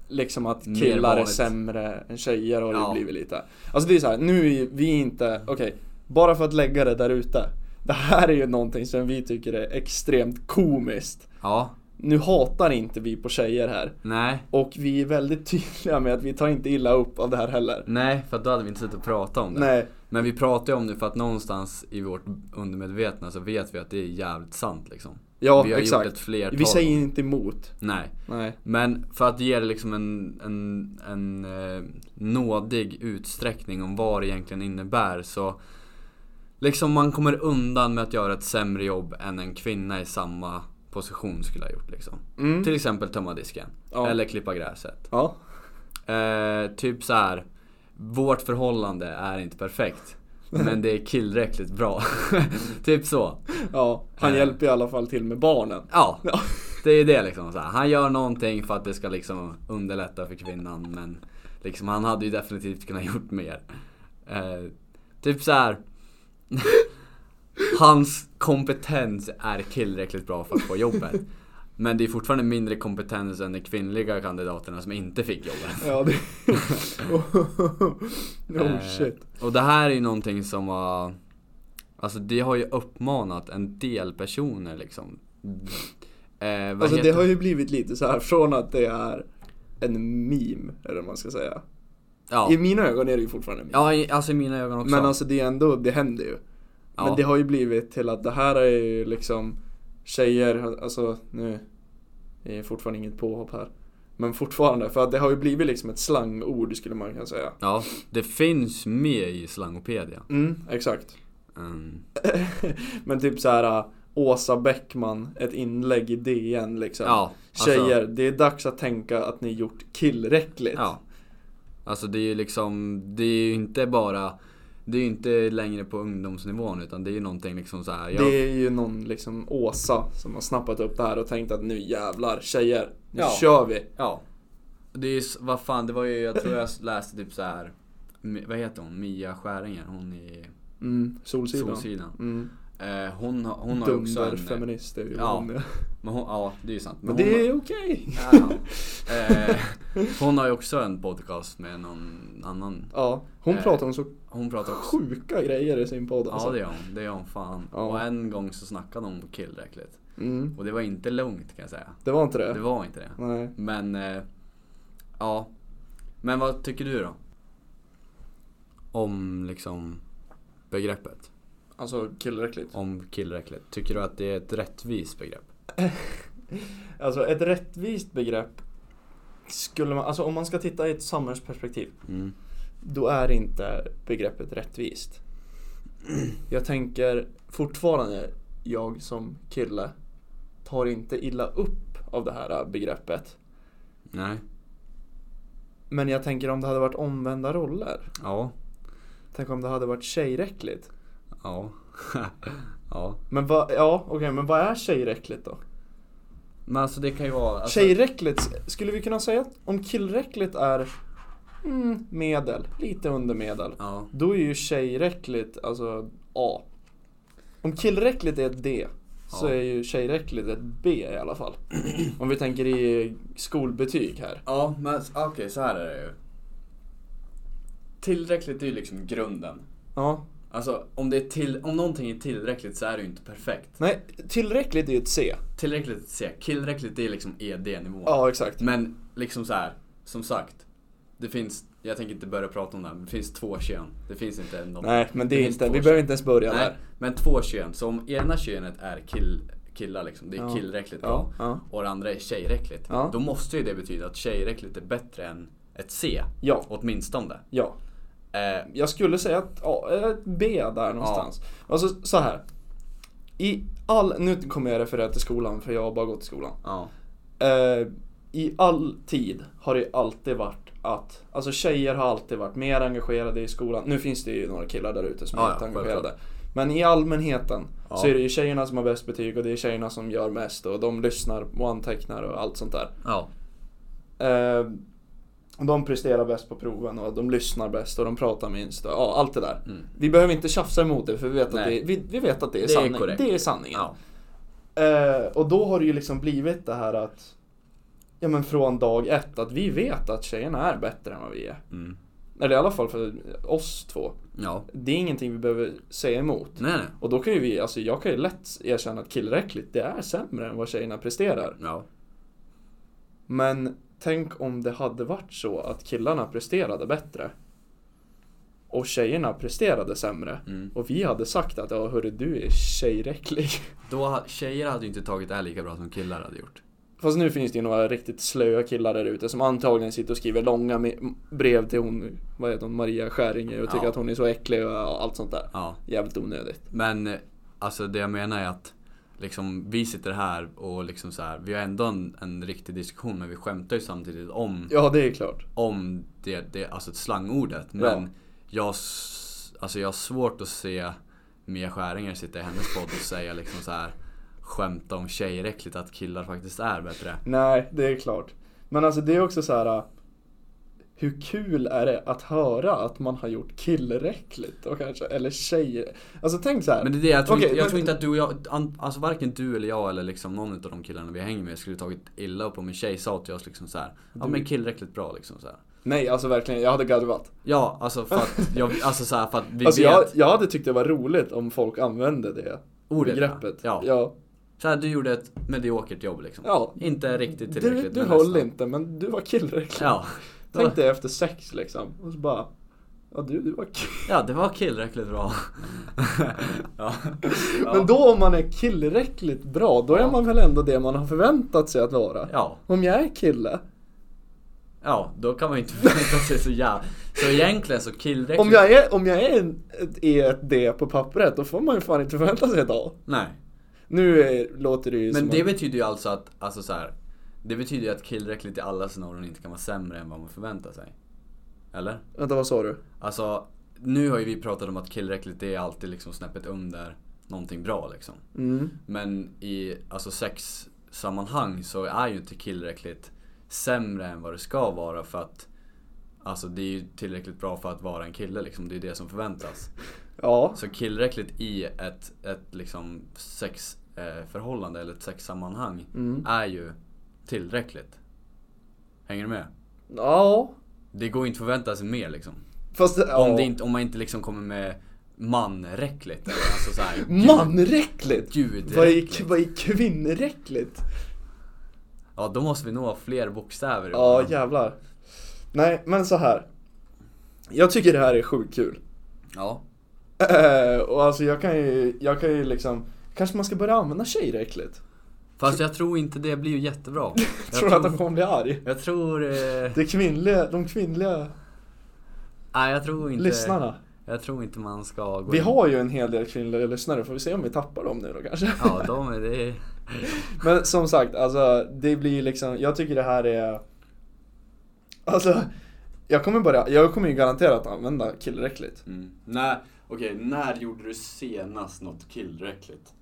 Speaker 2: Liksom att
Speaker 1: Mer
Speaker 2: killar är
Speaker 1: vanligt.
Speaker 2: sämre än tjejer har
Speaker 1: Ja.
Speaker 2: det blivit lite. Alltså det är så här, nu är ju vi inte, okej, bara för att lägga det där ute. Det här är ju någonting som vi tycker är extremt komiskt.
Speaker 1: Ja,
Speaker 2: Nu hatar inte vi på tjejer här.
Speaker 1: nej.
Speaker 2: Och vi är väldigt tydliga med att vi tar inte illa upp av det här heller.
Speaker 1: Nej, för att då hade vi inte suttit och pratat om det.
Speaker 2: Nej,
Speaker 1: Men vi pratar ju om det för att någonstans i vårt undermedvetna så vet vi att det är jävligt sant liksom.
Speaker 2: ja
Speaker 1: vi har
Speaker 2: exakt.
Speaker 1: gjort ett flertal.
Speaker 2: Vi säger inte emot.
Speaker 1: Nej.
Speaker 2: Nej.
Speaker 1: Men för att ge det liksom en, en, en eh, nådig utsträckning om vad det egentligen innebär så Liksom man kommer undan med att göra ett sämre jobb än en kvinna i samma position skulle ha gjort liksom.
Speaker 2: Mm.
Speaker 1: Till exempel tömma disken.
Speaker 2: Ja.
Speaker 1: Eller klippa gräset.
Speaker 2: Ja.
Speaker 1: Eh, typ så här. Vårt förhållande är inte perfekt. Men det är tillräckligt bra. typ så.
Speaker 2: ja, han
Speaker 1: Eh.
Speaker 2: hjälper i alla fall till med barnen.
Speaker 1: Ja,
Speaker 2: Ja.
Speaker 1: det är det liksom. Så här. Han gör någonting för att det ska liksom underlätta för kvinnan men liksom, han hade ju definitivt kunnat gjort mer. Eh, typ så här. Hans kompetens är tillräckligt bra för att få jobbet. Men det är fortfarande mindre kompetens än de kvinnliga kandidaterna som inte fick jobbet.
Speaker 2: Ja, det... oh shit.
Speaker 1: Eh, och det här är ju någonting som har... Alltså det har ju uppmanat en del personer liksom. Eh, vad
Speaker 2: Alltså det
Speaker 1: heter-
Speaker 2: har ju blivit lite så här från att det är en meme, eller vad man ska säga.
Speaker 1: ja.
Speaker 2: I mina ögon är det ju fortfarande en meme.
Speaker 1: Ja, i, alltså i mina ögon också.
Speaker 2: Men alltså det är ändå, det händer ju.
Speaker 1: Ja.
Speaker 2: Men det har ju blivit till att det här är ju liksom tjejer, alltså nu är det fortfarande inget påhopp här. Men fortfarande, för att det har ju blivit liksom ett slangord skulle man kunna säga.
Speaker 1: ja, det finns med i Slangopedia.
Speaker 2: Mm, exakt.
Speaker 1: Mm.
Speaker 2: Men typ så här äh, Åsa Bäckman, ett inlägg i DN liksom.
Speaker 1: Ja, alltså-
Speaker 2: Tjejer, det är dags att tänka att ni gjort tillräckligt.
Speaker 1: Ja. Alltså det är ju liksom, det är ju inte bara, det är ju inte längre på ungdomsnivån utan det är ju någonting liksom så här. Jag,
Speaker 2: Det är ju någon liksom Åsa som har snappat upp det här och tänkt att nu jävlar tjejer, nu
Speaker 1: Ja.
Speaker 2: kör vi.
Speaker 1: Ja. Det är ju, s- vad fan, det var ju, jag tror jag läste typ så här. Mi- vad heter hon? Mia Skäringer, hon i
Speaker 2: Mm, Solsidan.
Speaker 1: Solsidan.
Speaker 2: Mm.
Speaker 1: Eh, hon, har- hon har ju också
Speaker 2: Dunder
Speaker 1: en...
Speaker 2: feminist är ju
Speaker 1: Ja.
Speaker 2: hon är.
Speaker 1: Men hon, ja, det är ju sant.
Speaker 2: Men
Speaker 1: hon,
Speaker 2: det är okej.
Speaker 1: ja, ja. Eh, hon har ju också en podcast med någon annan
Speaker 2: Ja, hon
Speaker 1: Eh,
Speaker 2: pratar om så
Speaker 1: Hon pratar också.
Speaker 2: sjuka grejer i sin podd alltså.
Speaker 1: Ja det gör hon, det gör hon fan.
Speaker 2: Ja.
Speaker 1: Och en gång så snackade hon killräckligt.
Speaker 2: Mm,
Speaker 1: Och det var inte lugnt kan jag säga.
Speaker 2: det var inte det.
Speaker 1: Det var inte det.
Speaker 2: Nej.
Speaker 1: Men, eh, ja. Men vad tycker du då? Om liksom begreppet.
Speaker 2: Alltså killräckligt.
Speaker 1: Om killräckligt. Tycker du att det är ett rättvist begrepp?
Speaker 2: Alltså ett rättvist begrepp skulle man, alltså om man ska titta i ett samhällsperspektiv,
Speaker 1: Mm.
Speaker 2: då är inte begreppet rättvist. Jag tänker fortfarande, jag som kille tar inte illa upp av det här begreppet.
Speaker 1: Nej.
Speaker 2: Men jag tänker om det hade varit omvända roller.
Speaker 1: Ja.
Speaker 2: Tänk om det hade varit tjejräckligt.
Speaker 1: Ja. ja.
Speaker 2: Men vad, ja okej, men vad är tjejräckligt då?
Speaker 1: Men alltså det kan ju vara... Alltså,
Speaker 2: Tjejräckligt, skulle vi kunna säga att om killräckligt är mm, medel, lite under medel.
Speaker 1: Ja.
Speaker 2: Då är ju tjejräckligt alltså A. Om killräckligt är ett D så
Speaker 1: Ja.
Speaker 2: är ju tjejräckligt ett B i alla fall. Om vi tänker i skolbetyg här.
Speaker 1: Ja, men s- ah, okej så här är det ju. Tillräckligt är ju liksom grunden.
Speaker 2: Ja.
Speaker 1: Alltså om, det är till, om någonting är tillräckligt så är det ju inte perfekt.
Speaker 2: Nej, tillräckligt är ju ett C.
Speaker 1: Tillräckligt E C, tillräckligt det är liksom ED-nivån.
Speaker 2: Ja, exakt.
Speaker 1: Men liksom så här, som sagt. Det finns, jag tänker inte börja prata om det här, men det finns två kön. Det finns inte något.
Speaker 2: Nej, men det
Speaker 1: Det
Speaker 2: är
Speaker 1: finns
Speaker 2: inte,
Speaker 1: två
Speaker 2: vi
Speaker 1: kön.
Speaker 2: behöver inte ens börja
Speaker 1: Nej,
Speaker 2: där.
Speaker 1: men två kön. Så om ena könet är kill, killar liksom, det är
Speaker 2: Ja.
Speaker 1: killräckligt
Speaker 2: Ja,
Speaker 1: bra.
Speaker 2: ja.
Speaker 1: Och det andra är tjejräckligt.
Speaker 2: Ja.
Speaker 1: Då måste ju det betyda att tjejräckligt är bättre än ett C.
Speaker 2: Ja,
Speaker 1: Åtminstone.
Speaker 2: ja.
Speaker 1: Eh,
Speaker 2: Jag skulle säga att ja, ett B där någonstans. Alltså så här. I all, nu kommer jag referera till skolan för jag har bara gått i skolan.
Speaker 1: ja.
Speaker 2: Eh, I all tid har det alltid varit att, alltså tjejer har alltid varit mer engagerade i skolan. Nu finns det ju några killar där ute som
Speaker 1: Ja,
Speaker 2: är inte
Speaker 1: ja,
Speaker 2: engagerade.
Speaker 1: självklart.
Speaker 2: Men i allmänheten
Speaker 1: Ja.
Speaker 2: så är det ju tjejerna som har bäst betyg och det är tjejerna som gör mest och de lyssnar och antecknar och allt sånt där.
Speaker 1: Ja.
Speaker 2: Eh, de presterar bäst på proven och de lyssnar bäst och de pratar minst och ja, allt det där.
Speaker 1: Mm.
Speaker 2: Vi behöver inte tjafsa emot det för vi vet att,
Speaker 1: Nej.
Speaker 2: det, vi, vi vet att det är
Speaker 1: Det är
Speaker 2: sanning.
Speaker 1: korrekt.
Speaker 2: det är sanningen.
Speaker 1: ja.
Speaker 2: Eh, och då har det ju liksom blivit det här att Ja men från dag ett att vi vet att tjejerna är bättre än vad vi är.
Speaker 1: Mm.
Speaker 2: Eller i alla fall för oss två.
Speaker 1: Ja.
Speaker 2: Det är ingenting vi behöver säga emot.
Speaker 1: Nej, nej.
Speaker 2: Och då kan ju vi, alltså jag kan ju lätt erkänna att killräckligt det är sämre än vad tjejerna presterar.
Speaker 1: Ja.
Speaker 2: Men tänk om det hade varit så att killarna presterade bättre. Och tjejerna presterade sämre.
Speaker 1: Mm.
Speaker 2: Och vi hade sagt att ja hörru du är tjejräcklig.
Speaker 1: Då, ha- tjejer hade ju inte tagit det här lika bra som killar hade gjort.
Speaker 2: Fast nu finns det ju några riktigt slöa killar där ute som antagligen sitter och skriver långa me- brev till hon, vad heter hon, Maria Skäringer och tycker
Speaker 1: Ja.
Speaker 2: att hon är så äcklig och allt sånt där.
Speaker 1: Ja.
Speaker 2: Jävligt onödigt.
Speaker 1: Men eh, alltså det jag menar är att liksom, vi sitter här och liksom så här, vi har ändå en, en riktig diskussion men vi skämtar ju samtidigt om,
Speaker 2: Ja, det är klart.
Speaker 1: om det, det, alltså slangordet. Men jag, s- alltså, jag har svårt att se Mia Skäringer sitta i hennes podd och säga liksom så här skämta om tjejräckligt att killar faktiskt är bättre.
Speaker 2: Nej, det är klart. Men alltså det är också så här. äh, Hur kul är det att höra att man har gjort killräckligt? Och kanske, eller tjejer. Alltså tänk så här.
Speaker 1: Men det är det, jag tror,
Speaker 2: Okej,
Speaker 1: inte, jag
Speaker 2: men-
Speaker 1: tror inte att du och jag, an, alltså varken du eller jag eller liksom någon av de killarna vi hänger med skulle tagit illa upp om en tjej sa till oss liksom så här, ja men killräckligt bra liksom så här.
Speaker 2: Nej, alltså verkligen. Jag hade garvat.
Speaker 1: Ja, alltså för att, jag, alltså så här, för att vi
Speaker 2: Alltså
Speaker 1: vet
Speaker 2: jag, jag hade tyckt det var roligt om folk använde det
Speaker 1: ordet.
Speaker 2: begreppet.
Speaker 1: Ja.
Speaker 2: ja.
Speaker 1: Så här, du gjorde ett mediokert jobb liksom.
Speaker 2: Ja.
Speaker 1: Inte riktigt
Speaker 2: Du,
Speaker 1: tillräckligt
Speaker 2: du
Speaker 1: men
Speaker 2: höll
Speaker 1: nästan.
Speaker 2: inte, men du var killräcklig.
Speaker 1: Ja.
Speaker 2: Tänk dig efter sex liksom. Och så bara. Ja du, du var kill.
Speaker 1: ja, det var killräckligt bra. ja.
Speaker 2: Men då om man är killräckligt bra, då är man väl ändå det man har förväntat sig att vara.
Speaker 1: Ja.
Speaker 2: Om jag är kille.
Speaker 1: ja, då kan man ju inte förvänta sig så jävla... Så egentligen så killräckligt...
Speaker 2: Om jag är, om jag är en, ett, är ett D på pappret, då får man ju fan inte förvänta sig ett A.
Speaker 1: Nej.
Speaker 2: Nu är, låter det ju
Speaker 1: Men
Speaker 2: som
Speaker 1: det
Speaker 2: att,
Speaker 1: betyder ju alltså att, alltså så här, Det betyder ju att killräckligt i alla scenarion inte kan vara sämre än vad man förväntar sig. Eller?
Speaker 2: Vänta, vad sa du?
Speaker 1: Alltså, nu har ju vi pratat om att killräckligt det är alltid liksom snäppet under någonting bra liksom.
Speaker 2: Mm.
Speaker 1: Men i alltså sexsammanhang så är ju inte killräckligt sämre än vad det ska vara för att Alltså det är ju tillräckligt bra för att vara en kille liksom, det är det som förväntas.
Speaker 2: Ja.
Speaker 1: Så killräckligt i ett, ett liksom sexförhållande eh, förhållande eller ett sexsammanhang
Speaker 2: Mm.
Speaker 1: är ju tillräckligt. Hänger du med?
Speaker 2: Ja.
Speaker 1: Det går ju inte att förvänta sig mer liksom.
Speaker 2: Fast ja.
Speaker 1: Om, det inte, om man inte liksom kommer med manräckligt eller alltså så här,
Speaker 2: Manräckligt!
Speaker 1: Gud,
Speaker 2: vad, är,
Speaker 1: räckligt.
Speaker 2: vad är kvinnräckligt?
Speaker 1: Ja, då måste vi nog ha fler bokstäver. i
Speaker 2: Ja,
Speaker 1: våran-
Speaker 2: jävlar. Nej, men så här. Jag tycker det här är sjukt kul.
Speaker 1: Ja.
Speaker 2: Eh, och alltså jag kan ju, jag kan ju liksom, kanske man ska börja använda tjejräckligt?
Speaker 1: Fast jag tror inte det blir ju jättebra. Jag
Speaker 2: Tror du att de kommer bli arg?
Speaker 1: Jag tror... Eh,
Speaker 2: Det kvinnliga, de kvinnliga
Speaker 1: nej, jag tror inte...
Speaker 2: lyssnarna.
Speaker 1: Jag tror inte man ska gå
Speaker 2: Vi
Speaker 1: in-
Speaker 2: har ju en hel del kvinnliga lyssnare, får vi se om vi tappar dem nu då kanske?
Speaker 1: Ja, de är det...
Speaker 2: Men som sagt, alltså det blir ju liksom, jag tycker det här är Alltså, jag kommer börja, jag kommer ju garanterat använda killräckligt
Speaker 1: Mm. När, okej, när gjorde du senast något killräckligt?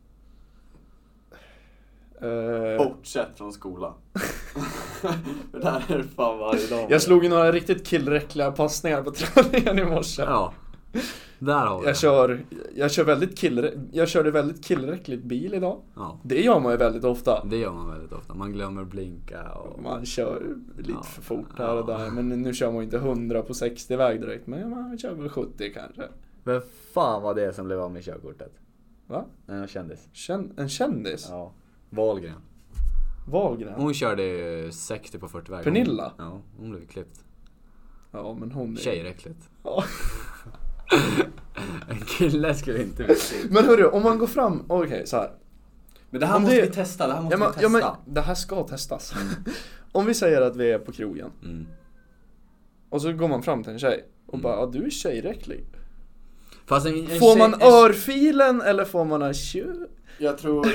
Speaker 2: Eh,
Speaker 1: Bortsett från skolan. det där är det fan varje dag.
Speaker 2: Jag slog ju några riktigt killräckliga passningar på träningen i morse
Speaker 1: Ja. Där har vi
Speaker 2: Jag
Speaker 1: det.
Speaker 2: kör, jag kör väldigt killrä- jag körde väldigt killräckligt bil idag
Speaker 1: Ja,
Speaker 2: Det gör man ju väldigt ofta
Speaker 1: det gör man väldigt ofta. Man glömmer blinka och...
Speaker 2: Man kör lite
Speaker 1: Ja.
Speaker 2: för fort här och där Men nu kör man ju inte 100 på 60 väg direkt Men man kör väl 70 kanske
Speaker 1: Men fan vad det är som blev av med körkortet.
Speaker 2: Va?
Speaker 1: En kändis.
Speaker 2: Känn, en kändis?
Speaker 1: Ja. Wahlgren.
Speaker 2: Wahlgren?
Speaker 1: Hon körde ju 60 på 40 väg.
Speaker 2: Pernilla?
Speaker 1: Ja, hon blev klippt.
Speaker 2: Ja men hon är...
Speaker 1: Tjejer är äckligt.
Speaker 2: Ja.
Speaker 1: en kille skulle inte bli
Speaker 2: Men hörru, om man går fram, okej så här.
Speaker 1: Men det här
Speaker 2: Om
Speaker 1: måste
Speaker 2: det-
Speaker 1: vi testa, det här måste
Speaker 2: Ja, men,
Speaker 1: vi
Speaker 2: ja,
Speaker 1: testa.
Speaker 2: men, det här ska testas. om vi säger att vi är på krogen
Speaker 1: Mm.
Speaker 2: och så går man fram till en tjej och
Speaker 1: Mm.
Speaker 2: bara ja, du är tjejräcklig.
Speaker 1: Fast en, en
Speaker 2: Får
Speaker 1: tjej-
Speaker 2: man
Speaker 1: en-
Speaker 2: örfilen eller får man en tju?
Speaker 1: Jag tror,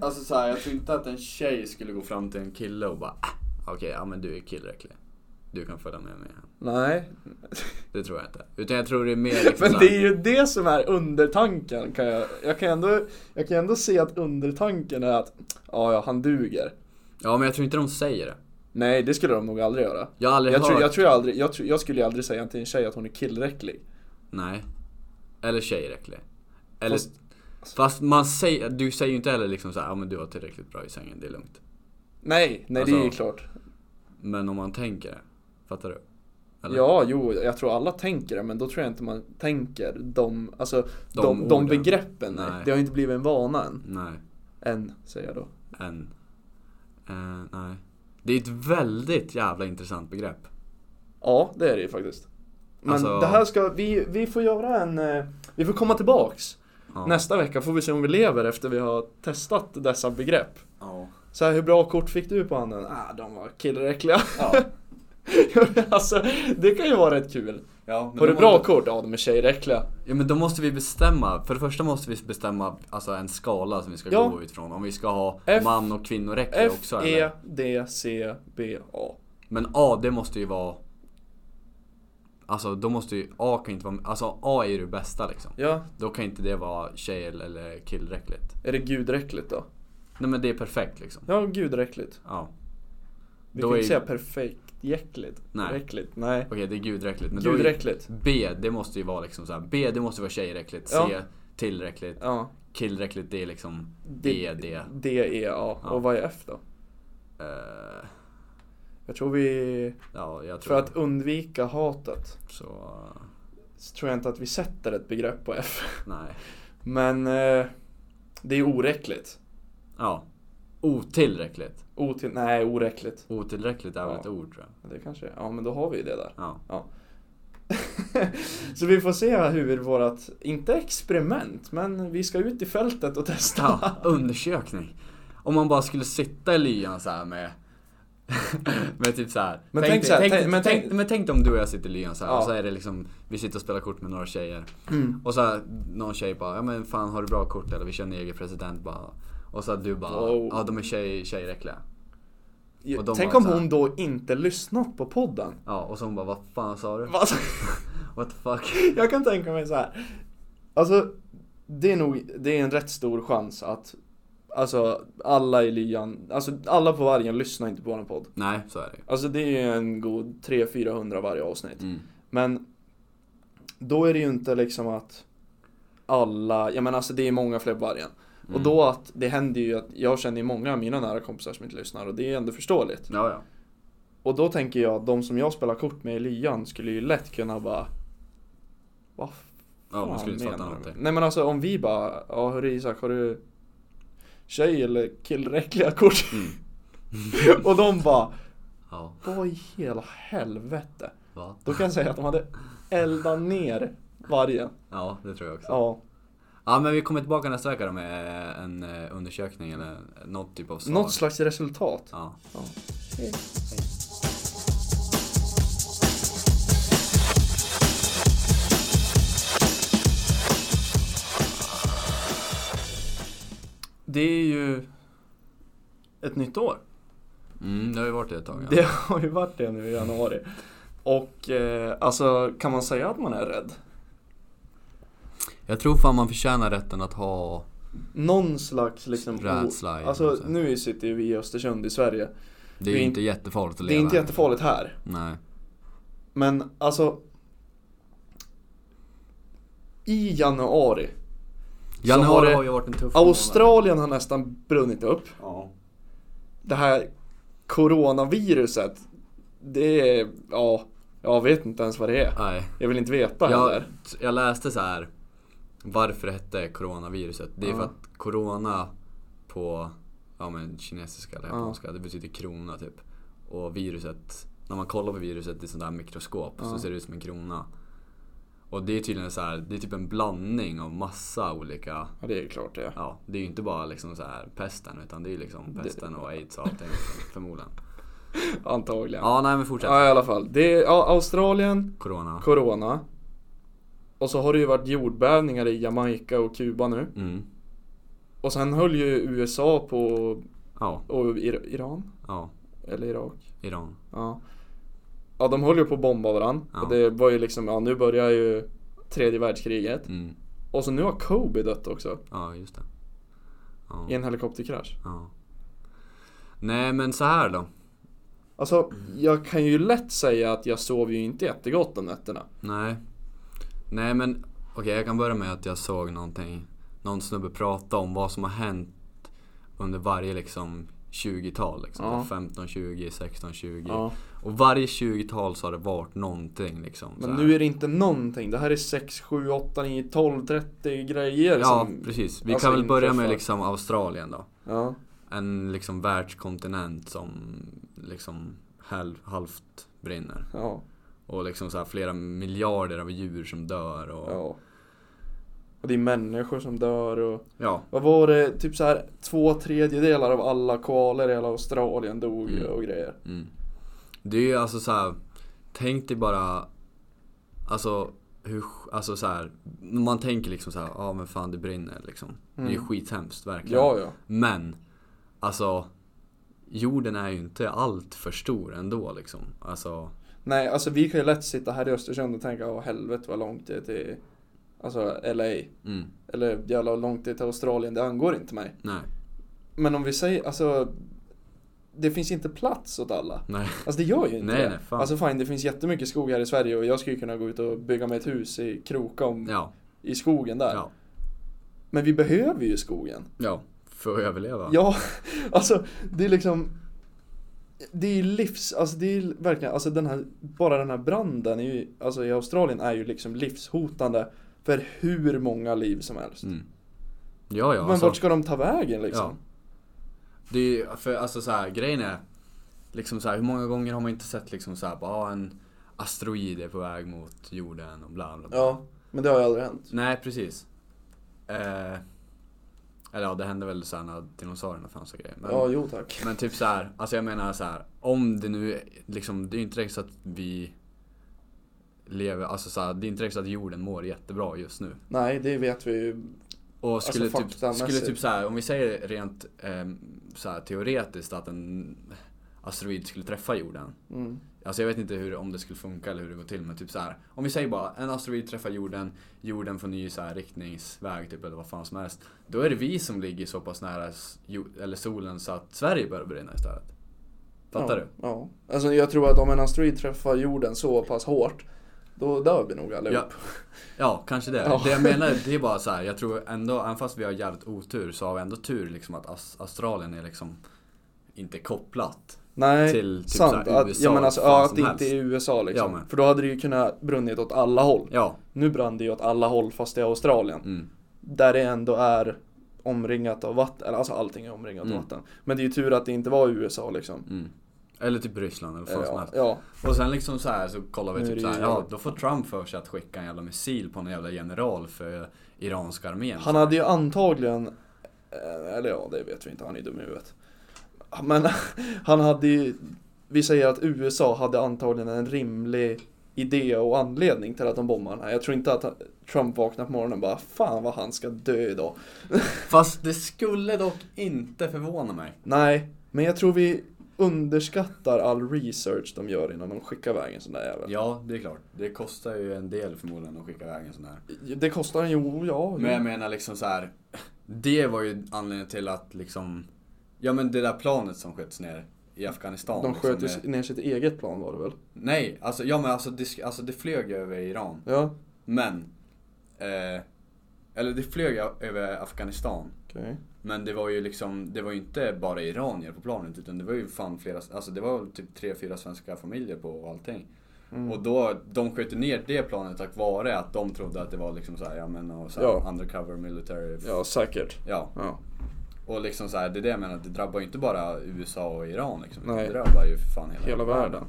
Speaker 1: alltså så här, jag tror inte att en tjej skulle gå fram till en kille och bara "Ah, Okej, ja men du är killräcklig. Du kan följa med mig hem.
Speaker 2: Nej.
Speaker 1: Det tror jag inte. Utan jag tror det är mer liksom
Speaker 2: Men
Speaker 1: så
Speaker 2: det
Speaker 1: här-
Speaker 2: är ju det som är undertanken. Kan jag, jag, kan ändå, jag kan ändå se att undertanken är att ja, ja, han duger.
Speaker 1: Ja men jag tror inte de säger det.
Speaker 2: Nej, det skulle de nog aldrig göra.
Speaker 1: Jag har aldrig
Speaker 2: Jag,
Speaker 1: hört.
Speaker 2: tror, jag, tror jag, aldrig, jag, tror, jag skulle ju aldrig säga till en tjej att hon är killräcklig.
Speaker 1: Nej. Eller tjejräcklig. Eller,
Speaker 2: Fast-
Speaker 1: fast, man säger, du säger ju inte heller liksom så här, ja men du har tillräckligt bra i sängen, det är lugnt.
Speaker 2: Nej, nej det är ju
Speaker 1: Alltså,
Speaker 2: klart.
Speaker 1: Men om man tänker det, fattar du? Eller?
Speaker 2: Ja, jo, jag tror alla tänker det, men då tror jag inte man tänker de, alltså, de,
Speaker 1: De
Speaker 2: de,
Speaker 1: orden.
Speaker 2: begreppen. Nej.
Speaker 1: Nej.
Speaker 2: Det har inte blivit en vana än.
Speaker 1: Nej,
Speaker 2: Än, säger jag då.
Speaker 1: än. Eh, nej. Det är ett väldigt jävla intressant begrepp.
Speaker 2: Ja, det är det ju faktiskt. Men
Speaker 1: Alltså-
Speaker 2: det här ska, vi, vi får göra en, eh, vi får komma tillbaks.
Speaker 1: Ja.
Speaker 2: Nästa vecka får vi se om vi lever efter vi har testat dessa begrepp.
Speaker 1: Ja.
Speaker 2: Så här, hur bra kort fick du på handen? Ah, de var killräckliga.
Speaker 1: Ja.
Speaker 2: alltså, det kan ju vara rätt kul.
Speaker 1: Ja, men
Speaker 2: Har du
Speaker 1: då
Speaker 2: bra
Speaker 1: måste-
Speaker 2: kort? Ja, de är tjejräckliga.
Speaker 1: Ja men då måste vi bestämma, för det första måste vi bestämma alltså, en skala som vi ska
Speaker 2: Ja.
Speaker 1: gå utifrån. Om vi ska ha
Speaker 2: F-
Speaker 1: man och kvinnoräcklig
Speaker 2: F,
Speaker 1: också
Speaker 2: E,
Speaker 1: eller?
Speaker 2: D, C, B, A.
Speaker 1: Men A det måste ju vara... Alltså då måste ju A kan inte vara Alltså A är ju det bästa liksom.
Speaker 2: Ja,
Speaker 1: Då kan inte det vara tjej eller killräckligt.
Speaker 2: är det gudräckligt då?
Speaker 1: Nej men det är perfekt liksom.
Speaker 2: Ja, gudräckligt.
Speaker 1: Ja.
Speaker 2: Vi
Speaker 1: Då
Speaker 2: kan
Speaker 1: är-
Speaker 2: inte säga perfekt jäckligt.
Speaker 1: Nej.
Speaker 2: Räckligt. Nej.
Speaker 1: Okej det är gudräckligt. Men då är...
Speaker 2: Gudräckligt.
Speaker 1: B det måste ju vara liksom så här. B det måste vara tjejräckligt. C
Speaker 2: Ja.
Speaker 1: tillräckligt.
Speaker 2: Ja.
Speaker 1: Killräckligt det är liksom
Speaker 2: D-
Speaker 1: E D.
Speaker 2: D, E, A.
Speaker 1: Ja.
Speaker 2: Och vad är F då?
Speaker 1: Eh,
Speaker 2: Jag tror vi...
Speaker 1: ja jag tror
Speaker 2: För att undvika hatet
Speaker 1: så... eh,
Speaker 2: så tror jag inte att vi sätter ett begrepp på F.
Speaker 1: Nej.
Speaker 2: Men eh, det är oräckligt.
Speaker 1: Ja. Otillräckligt.
Speaker 2: Otill... Nej, oräckligt.
Speaker 1: Otillräckligt är väl
Speaker 2: Ja.
Speaker 1: ett ord tror jag.
Speaker 2: Det kanske är. Ja, men då har vi ju det där.
Speaker 1: Ja.
Speaker 2: så vi får se hur vårat, inte experiment, men vi ska ut i fältet och testa.
Speaker 1: ja. Undersökning. Om man bara skulle sitta i lyan så här med... med typ så här.
Speaker 2: Men tänk så här, tänk- men
Speaker 1: men,
Speaker 2: tänk-
Speaker 1: tänk, men tänk om du och jag sitter i lyan så här
Speaker 2: Ja.
Speaker 1: och så är det liksom, vi sitter och spelar kort med några tjejer.
Speaker 2: Mm.
Speaker 1: Och så här, någon tjej bara, ja men fan har du bra kort eller vi känner egen president bara. Och så här, du bara,
Speaker 2: Wow.
Speaker 1: ja de är tjej, tjejräckliga. Och de
Speaker 2: Tänk
Speaker 1: bara
Speaker 2: om
Speaker 1: så här-
Speaker 2: hon då inte lyssnat på podden.
Speaker 1: Ja och så hon bara, vad fan sa du?
Speaker 2: Alltså,
Speaker 1: What the fuck?
Speaker 2: jag kan tänka mig så här. Alltså, det är nog, det är en rätt stor chans att Alltså alla i lyan, alltså alla på vargen lyssnar inte på våran podd.
Speaker 1: Nej, så är det ju.
Speaker 2: Alltså det är ju en god 300-400 varje avsnitt.
Speaker 1: Mm.
Speaker 2: Men då är det ju inte liksom att alla, ja men alltså det är många fler på vargen. Och
Speaker 1: Mm.
Speaker 2: då att det händer ju att jag känner ju många av mina nära kompisar som inte lyssnar och det är ändå förståeligt.
Speaker 1: Ja, ja.
Speaker 2: Och då tänker jag att de som jag spelar kort med i lyan skulle ju lätt kunna bara Vad
Speaker 1: Ja, man
Speaker 2: fan
Speaker 1: skulle inte fatta
Speaker 2: menar du?"
Speaker 1: någonting.
Speaker 2: Nej men alltså om vi bara, ja hörru Isak har du tjej eller killräckliga kort?
Speaker 1: Mm.
Speaker 2: och de bara,
Speaker 1: Ja,
Speaker 2: vad i hela helvete?
Speaker 1: va?
Speaker 2: Då kan jag säga att de hade eldat ner vargen.
Speaker 1: Ja, det tror jag också.
Speaker 2: Ja,
Speaker 1: Ja men vi kommer tillbaka nästa vecka då med eh, en eh, undersökning eller något typ av svar.
Speaker 2: något slags resultat.
Speaker 1: Ja.
Speaker 2: Ja. Det är ju ett nytt år.
Speaker 1: Mm, det har ju varit det ett tag. Ja.
Speaker 2: Det har ju varit det nu i januari. Och eh, alltså kan man säga att man är rädd?
Speaker 1: Jag tror fan man förtjänar rätten att ha...
Speaker 2: Någon slags liksom... o-
Speaker 1: Rädsla, ja,
Speaker 2: Alltså
Speaker 1: precis.
Speaker 2: nu sitter ju vi i Östersund i Sverige.
Speaker 1: Det är ju
Speaker 2: Det är
Speaker 1: inte jättefarligt att
Speaker 2: Det
Speaker 1: leva
Speaker 2: är inte
Speaker 1: här.
Speaker 2: jättefarligt här.
Speaker 1: Nej.
Speaker 2: Men alltså... I januari. har
Speaker 1: Januari
Speaker 2: det-
Speaker 1: har, ju varit en tuff
Speaker 2: Australien har nästan brunnit upp.
Speaker 1: månad.
Speaker 2: Det här coronaviruset. Det är... Ja. Jag vet inte ens vad det är.
Speaker 1: Ja. Nej.
Speaker 2: Jag vill inte veta
Speaker 1: Jag,
Speaker 2: heller.
Speaker 1: jag läste så här varför det hette coronaviruset. Det är för
Speaker 2: Ja.
Speaker 1: att corona på ja, men kinesiska eller
Speaker 2: Ja.
Speaker 1: japanska, det betyder krona typ. Och viruset när man kollar på viruset i sånt där mikroskop
Speaker 2: Ja.
Speaker 1: så ser det ut som en krona. Och det är tydligen så här, det är typ en blandning av massa olika
Speaker 2: Ja, det är klart det.
Speaker 1: Ja, det är ju inte bara liksom så här pesten utan det är ju liksom
Speaker 2: Det-
Speaker 1: pesten och aids och allting liksom, förmodligen.
Speaker 2: Antagligen.
Speaker 1: Ja, nej men fortsätt.
Speaker 2: Ja, i alla fall. Det är, ja, Australien,
Speaker 1: Corona.
Speaker 2: Corona. Och så har det ju varit jordbävningar i Jamaica och Kuba nu.
Speaker 1: Mm.
Speaker 2: Och sen höll ju USA på
Speaker 1: Ja,
Speaker 2: och Ir- Iran?
Speaker 1: ja.
Speaker 2: Eller Irak?
Speaker 1: Iran.
Speaker 2: Ja. Ja, de höll ju på att bomba varandra.
Speaker 1: Ja.
Speaker 2: Och det var ju liksom, ja nu börjar ju tredje världskriget.
Speaker 1: Mm.
Speaker 2: Och så nu har Kobe dött också.
Speaker 1: Ja, just det.
Speaker 2: I
Speaker 1: Ja,
Speaker 2: en helikopterkrasch.
Speaker 1: ja. Nej men så här då.
Speaker 2: Alltså, jag kan ju lätt säga att jag sov ju inte jättegott om nätterna.
Speaker 1: Nej. Nej men okej, jag kan börja med att jag såg någonting. Någon snubbe prata om vad som har hänt under varje liksom 20-tal. Liksom.
Speaker 2: Ja.
Speaker 1: 15, 20, 16, 20.
Speaker 2: Ja.
Speaker 1: Och varje 20-tal så har det varit någonting liksom. så
Speaker 2: Men
Speaker 1: här.
Speaker 2: nu är det inte någonting. Det här är 6, 7, 8, 9, 12, 30 grejer
Speaker 1: Ja,
Speaker 2: som...
Speaker 1: precis. Vi
Speaker 2: alltså
Speaker 1: kan väl börja med
Speaker 2: inträffar.
Speaker 1: liksom Australien då.
Speaker 2: Ja.
Speaker 1: En liksom världskontinent som liksom halv, halvt brinner.
Speaker 2: Ja.
Speaker 1: Och liksom så här flera miljarder av djur som dör och ja.
Speaker 2: Ja. Och det är människor som dör och... Vad var det? Typ så här två tredjedelar av alla koalor i hela Australien dog ju
Speaker 1: Mm.
Speaker 2: och grejer.
Speaker 1: mm. Det är ju alltså så här, tänk dig bara, alltså hur, alltså så här, man tänker liksom så här, ja ah, men fan det brinner liksom. Det är ju
Speaker 2: Mm.
Speaker 1: skithemskt verkligen.
Speaker 2: Ja, ja.
Speaker 1: Men, alltså jorden är ju inte allt för stor ändå liksom. Alltså,
Speaker 2: Nej, alltså vi kan ju lätt sitta här i Östersund och tänka åh helvete vad långt det är till alltså, LA.
Speaker 1: mm,
Speaker 2: Eller jävlar vad långt det är till Australien, det angår inte mig.
Speaker 1: nej,
Speaker 2: Men om vi säger, alltså det finns inte plats åt alla.
Speaker 1: nej.
Speaker 2: Alltså det gör ju inte
Speaker 1: Nej,
Speaker 2: det.
Speaker 1: nej, fan.
Speaker 2: Alltså fine, det finns jättemycket skog här i Sverige och jag skulle ju kunna gå ut och bygga mig ett hus i Krokom
Speaker 1: Ja,
Speaker 2: i skogen där.
Speaker 1: ja,
Speaker 2: Men vi behöver ju skogen.
Speaker 1: ja. För att överleva.
Speaker 2: Ja, alltså det är liksom Det är livs, alltså det är verkligen, alltså den här, bara den här branden är ju, alltså i Australien är ju liksom livshotande för hur många liv som helst.
Speaker 1: Mm. Ja, ja.
Speaker 2: Men
Speaker 1: alltså.
Speaker 2: vart ska de ta vägen liksom?
Speaker 1: Det är ju- för alltså så här, grejen är liksom så här, hur många gånger har man inte sett liksom så här, bara en asteroid är på väg mot jorden och bla bla
Speaker 2: Ja,
Speaker 1: bla.
Speaker 2: men det har ju aldrig hänt.
Speaker 1: Nej, precis. Eh, eller ja, det hände väl så här när dinosaurierna fanns och grejer. Men,
Speaker 2: Ja, jo tack.
Speaker 1: men typ så här, alltså jag menar så här, om det nu är- liksom, det är ju inte direkt så att vi lever, alltså så här, det är inte direkt så att jorden mår jättebra just nu.
Speaker 2: Nej, det vet vi ju.
Speaker 1: Och skulle
Speaker 2: Alltså,
Speaker 1: typ,
Speaker 2: faktamässigt.
Speaker 1: skulle typ så här, om vi säger rent eh, så här, teoretiskt att en asteroid skulle träffa jorden.
Speaker 2: Mm.
Speaker 1: Alltså jag vet inte hur, om det skulle funka eller hur det går till men typ så här. Om vi säger bara en asteroid träffar jorden, jorden får ny så här, riktningsväg typ eller vad fan som helst. Då är det vi som ligger så pass nära s- jo- eller solen så att Sverige börjar brinna istället. Fattar
Speaker 2: ja, Ja. Alltså jag tror att om en asteroid träffar jorden så pass hårt, då dör vi nog
Speaker 1: du?
Speaker 2: allihop.
Speaker 1: Ja, ja, kanske det.
Speaker 2: Ja.
Speaker 1: Det jag menar det är bara så här, jag tror ändå, även fast vi har jävligt otur så har vi ändå tur liksom att As- Australien är liksom inte kopplat.
Speaker 2: Nej.
Speaker 1: till typ
Speaker 2: Sant,
Speaker 1: såhär,
Speaker 2: att,
Speaker 1: USA
Speaker 2: ja, men alltså,
Speaker 1: vad fan
Speaker 2: ja, att
Speaker 1: som
Speaker 2: det
Speaker 1: helst.
Speaker 2: inte är USA liksom.
Speaker 1: Ja, men.
Speaker 2: För då hade det ju kunnat brunnit åt alla håll.
Speaker 1: Ja,
Speaker 2: Nu brann det ju åt alla håll fast det är Australien.
Speaker 1: mm,
Speaker 2: Där det ändå är omringat av vatten, eller alltså allting är omringat
Speaker 1: Mm.
Speaker 2: av vatten. Men det är ju tur att det inte var USA liksom. Eh,
Speaker 1: mm. Eller typ Ryssland eller vad fan som
Speaker 2: Ja,
Speaker 1: helst.
Speaker 2: ja,
Speaker 1: Och sen liksom så här så kollar vi
Speaker 2: Nu är
Speaker 1: typ
Speaker 2: det
Speaker 1: så här,
Speaker 2: ju-
Speaker 1: ja då får Trump för sig att skicka en jävla missil på någon jävla general för iranska armén.
Speaker 2: han hade ju antagligen, eh, eller ja det vet vi inte, han är ju dum i huvudet. Men han hade ju, vi säger att USA hade antagligen en rimlig idé och anledning till att de bombade den här. Jag tror inte att han- Trump vaknade på morgonen och bara fan vad han ska dö idag.
Speaker 1: Fast det skulle dock inte förvåna mig.
Speaker 2: Nej, men jag tror vi underskattar all research de gör innan de skickar iväg en sån där jävel.
Speaker 1: Ja, det är klart. Det kostar ju en del förmodligen att skicka iväg en sån här.
Speaker 2: Det kostar en, jo, ja.
Speaker 1: Men jag
Speaker 2: jo.
Speaker 1: menar liksom så här. Det var ju anledningen till att liksom, ja men det där planet som sköts ner i Afghanistan.
Speaker 2: De
Speaker 1: liksom,
Speaker 2: sköt ju
Speaker 1: med-
Speaker 2: ner sitt eget plan var det väl?
Speaker 1: Nej, alltså, ja, men alltså, det, sk- alltså det flög över Iran.
Speaker 2: Ja,
Speaker 1: Men, eh, eller det flög ö- över Afghanistan.
Speaker 2: okej.
Speaker 1: Men det var ju liksom, det var ju inte bara iranier på planet utan det var ju fan flera, alltså det var typ tre, fyra svenska familjer på och allting.
Speaker 2: Mm.
Speaker 1: Och då, de sköt ju ner det planet tack vare att de trodde att det var liksom såhär, ja men och så här,
Speaker 2: Ja.
Speaker 1: undercover military.
Speaker 2: Ja, säkert.
Speaker 1: Ja.
Speaker 2: Ja.
Speaker 1: Och liksom såhär, det är det jag menar, det drabbar ju inte bara USA och Iran liksom. utan
Speaker 2: Nej.
Speaker 1: Det drabbar ju för fan hela,
Speaker 2: Hela världen.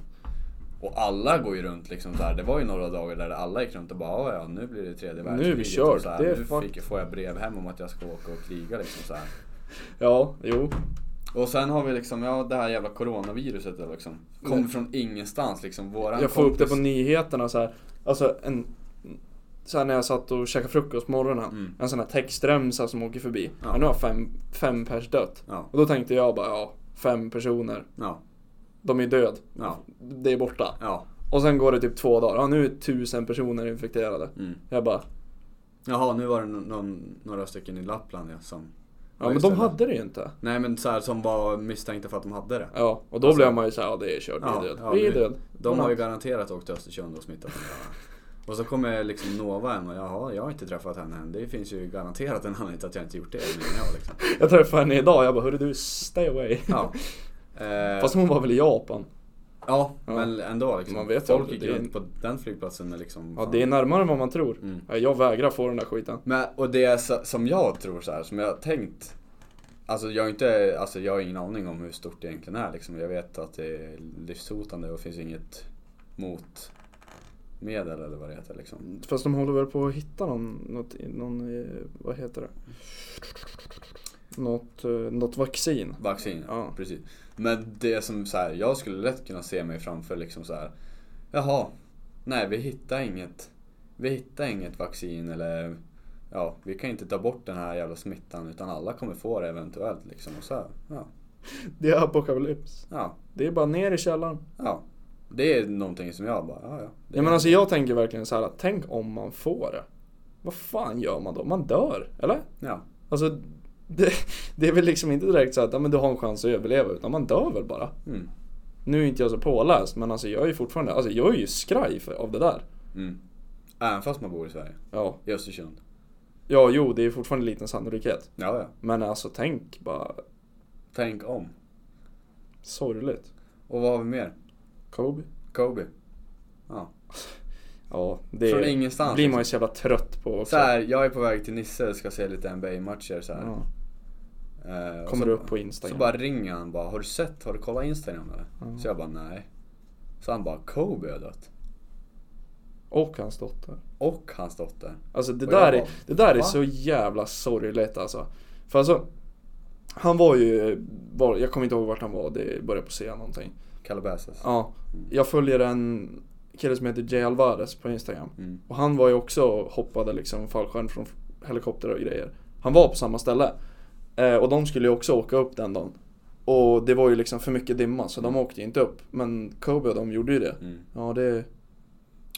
Speaker 1: Och alla går ju runt liksom så här. Det var ju några dagar där alla gick runt och bara "Ja, ja nu blir det tredje
Speaker 2: Nu är vi
Speaker 1: världskriget.
Speaker 2: kört.
Speaker 1: Och så här,
Speaker 2: Det är
Speaker 1: nu
Speaker 2: fuck.
Speaker 1: fick, får jag brev hem om att jag ska åka och kriga liksom så här.
Speaker 2: Ja, jo.
Speaker 1: Och sen har vi liksom, ja det här jävla coronaviruset då liksom. Kommer från ingenstans liksom. Våran
Speaker 2: Jag får upp det på
Speaker 1: kompis-
Speaker 2: nyheterna så här. Alltså en... Så här när jag satt och käkade frukost på morgonen.
Speaker 1: Mm.
Speaker 2: En sån här textremsa som åker förbi.
Speaker 1: Ja.
Speaker 2: Ja. Nu har fem, fem pers dött.
Speaker 1: Ja,
Speaker 2: Och då tänkte jag bara, ja, fem personer.
Speaker 1: ja,
Speaker 2: De är död.
Speaker 1: ja,
Speaker 2: Det är borta.
Speaker 1: ja.
Speaker 2: Och sen går det typ två dagar. Ja, nu är tusen personer infekterade.
Speaker 1: Mm.
Speaker 2: Jag bara,
Speaker 1: Jaha, nu var det no- någon, några stycken i Lappland ja, som...
Speaker 2: ja men de
Speaker 1: istället.
Speaker 2: hade det ju inte.
Speaker 1: Nej men så här, som var misstänkta för att de hade det.
Speaker 2: Ja, och då
Speaker 1: Alltså-
Speaker 2: blev man ju såhär, ja det är kört,
Speaker 1: Ja,
Speaker 2: vi är död.
Speaker 1: ja,
Speaker 2: vi är
Speaker 1: vi-
Speaker 2: död.
Speaker 1: De har ju garanterat åkt till Östersund och smittat varandra. Och så kommer liksom Nova hem och jaha, jag har inte träffat henne än. Det finns ju garanterat en anledning till att jag inte gjort det. menar jag liksom.
Speaker 2: Jag träffade henne idag, jag bara, hörru du, stay away.
Speaker 1: Ja. Eh,
Speaker 2: Fast hon var väl i Japan?
Speaker 1: ja,
Speaker 2: Ja.
Speaker 1: men ändå liksom.
Speaker 2: Man vet ju
Speaker 1: Folk
Speaker 2: aldrig,
Speaker 1: gick
Speaker 2: det är-
Speaker 1: runt på den flygplatsen med liksom...
Speaker 2: Ja,
Speaker 1: fan.
Speaker 2: det är närmare än vad man tror.
Speaker 1: Mm.
Speaker 2: Ja, Jag vägrar få den där skiten.
Speaker 1: Men, och det är så, som jag tror så här, som jag har tänkt. Alltså jag, har inte, alltså jag har ingen aning om hur stort det egentligen är. Liksom. Jag vet att det är livshotande och finns inget motmedel eller vad det heter. Liksom.
Speaker 2: Fast de håller väl på att hitta någon, något, någon eh, vad heter det? Något, eh, något vaccin.
Speaker 1: Vaccin,
Speaker 2: Ja.
Speaker 1: precis. Men det som så här, jag skulle lätt kunna se mig framför liksom så här. Jaha, nej vi hittar inget. Vi hittar inget vaccin eller ja, vi kan inte ta bort den här jävla smittan utan alla kommer få det eventuellt liksom. Och så här, ja,
Speaker 2: Det är apokalyps.
Speaker 1: ja.
Speaker 2: Det är bara ner i källaren.
Speaker 1: Ja. Det är någonting som jag bara, ja ja. Det
Speaker 2: Ja, men alltså jag tänker verkligen så här, att tänk om man får det. Vad fan gör man då? Man dör, eller?
Speaker 1: ja.
Speaker 2: Alltså, det, det är väl liksom inte direkt så att ja, men du har en chans att överleva, utan man dör väl bara.
Speaker 1: Mm.
Speaker 2: Nu är inte jag så påläst, men alltså jag är ju fortfarande, alltså jag är ju skraj för, av det där.
Speaker 1: Mm. Även fast man bor i Sverige,
Speaker 2: Ja,
Speaker 1: i Östersund.
Speaker 2: ja jo, det är fortfarande liten sannolikhet.
Speaker 1: Ja, ja.
Speaker 2: Men alltså tänk bara,
Speaker 1: Tänk om.
Speaker 2: sorgligt.
Speaker 1: Och vad har vi mer?
Speaker 2: Kobe?
Speaker 1: Kobe. Ja.
Speaker 2: Ja, det
Speaker 1: Från ingenstans.
Speaker 2: blir man ju så jävla trött på också.
Speaker 1: Så här, jag är på väg till Nisse och ska se lite NBA-matcher så här.
Speaker 2: Ja.
Speaker 1: Eh, och
Speaker 2: Kommer
Speaker 1: så,
Speaker 2: du upp på Instagram? Mm.
Speaker 1: Så bara ringer han bara, har du sett, har du kollat Instagram eller?
Speaker 2: Ja.
Speaker 1: Så jag bara, nej. Så han bara, Kobe har dött.
Speaker 2: Och hans dotter.
Speaker 1: Och hans dotter.
Speaker 2: Alltså det
Speaker 1: Och jag
Speaker 2: där,
Speaker 1: bara,
Speaker 2: är, det där är
Speaker 1: va?
Speaker 2: så jävla sorgligt alltså. För alltså, han var ju, var, jag kommer inte ihåg vart han var, det började på C någonting.
Speaker 1: Calabasas.
Speaker 2: Ja, jag följer en kille som heter Jay Alvarez på Instagram.
Speaker 1: Mm.
Speaker 2: Och han var ju också och hoppade liksom fallskärm från helikopter och grejer. Han var på samma ställe. Eh, och de skulle ju också åka upp den dagen. Och det var ju liksom för mycket dimma så de åkte ju inte upp. Men Kobe och de gjorde ju det.
Speaker 1: Mm.
Speaker 2: Ja, det,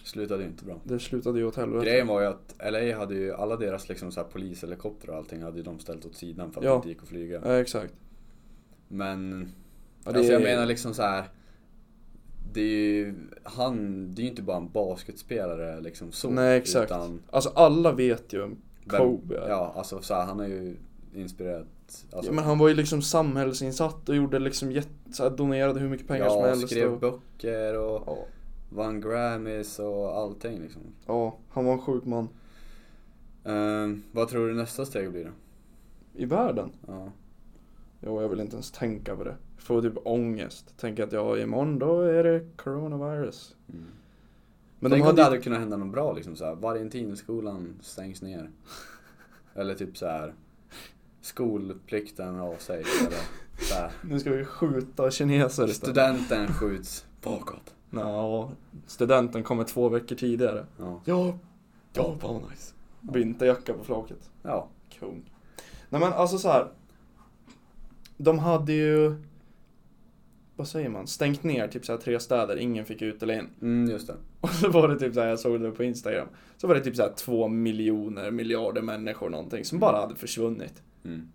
Speaker 1: Slutade ju inte bra.
Speaker 2: det slutade ju åt helvete.
Speaker 1: Grejen var ju att LA hade ju alla deras liksom så här polishelikoptrar och allting hade ju de ställt åt sidan för att
Speaker 2: Ja.
Speaker 1: det inte gick att flyga.
Speaker 2: Ja, exakt.
Speaker 1: Men,
Speaker 2: Ja, det
Speaker 1: alltså jag
Speaker 2: är-
Speaker 1: menar liksom så här. Det är ju, han, det är ju inte bara en basketspelare liksom så.
Speaker 2: Nej, exakt.
Speaker 1: Utan
Speaker 2: Alltså alla vet ju vem
Speaker 1: vem-
Speaker 2: Kobe är.
Speaker 1: Ja, alltså så här, han har ju inspirerat. Alltså,
Speaker 2: Ja, men han var ju liksom samhällsinsatt och gjorde liksom jätte, så här, donerade hur mycket pengar
Speaker 1: ja,
Speaker 2: som helst.
Speaker 1: skrev
Speaker 2: och,
Speaker 1: böcker och
Speaker 2: ja,
Speaker 1: vann Grammys och allting liksom.
Speaker 2: ja, han var en sjuk man.
Speaker 1: Ehm, vad tror du nästa steg blir då?
Speaker 2: I världen?
Speaker 1: Ja.
Speaker 2: Jo, jag vill inte ens tänka på det. Jag får typ ångest. Tänker att ja, imorgon då är det coronavirus.
Speaker 1: Mm.
Speaker 2: Men
Speaker 1: Tänk
Speaker 2: de
Speaker 1: om det
Speaker 2: hade,
Speaker 1: hade kunnat hända något bra liksom såhär, Valentinskolan stängs ner. Eller typ så här. skolplikten avsägs eller såhär.
Speaker 2: Nu ska vi skjuta kineser istället.
Speaker 1: Studenten skjuts bakåt.
Speaker 2: Nå, studenten kommer två veckor tidigare.
Speaker 1: Ja.
Speaker 2: Ja, ja fan vad nice. Vinterjacka på flaket.
Speaker 1: ja.
Speaker 2: Kung. Nej men alltså så här. De hade ju, vad säger man, stängt ner typ så här tre städer, ingen fick ut eller in.
Speaker 1: Mm, just det.
Speaker 2: Och så var det typ så här, jag såg det på Instagram. Så var det typ så här två miljoner miljarder människor någonting som bara hade försvunnit.
Speaker 1: Mm.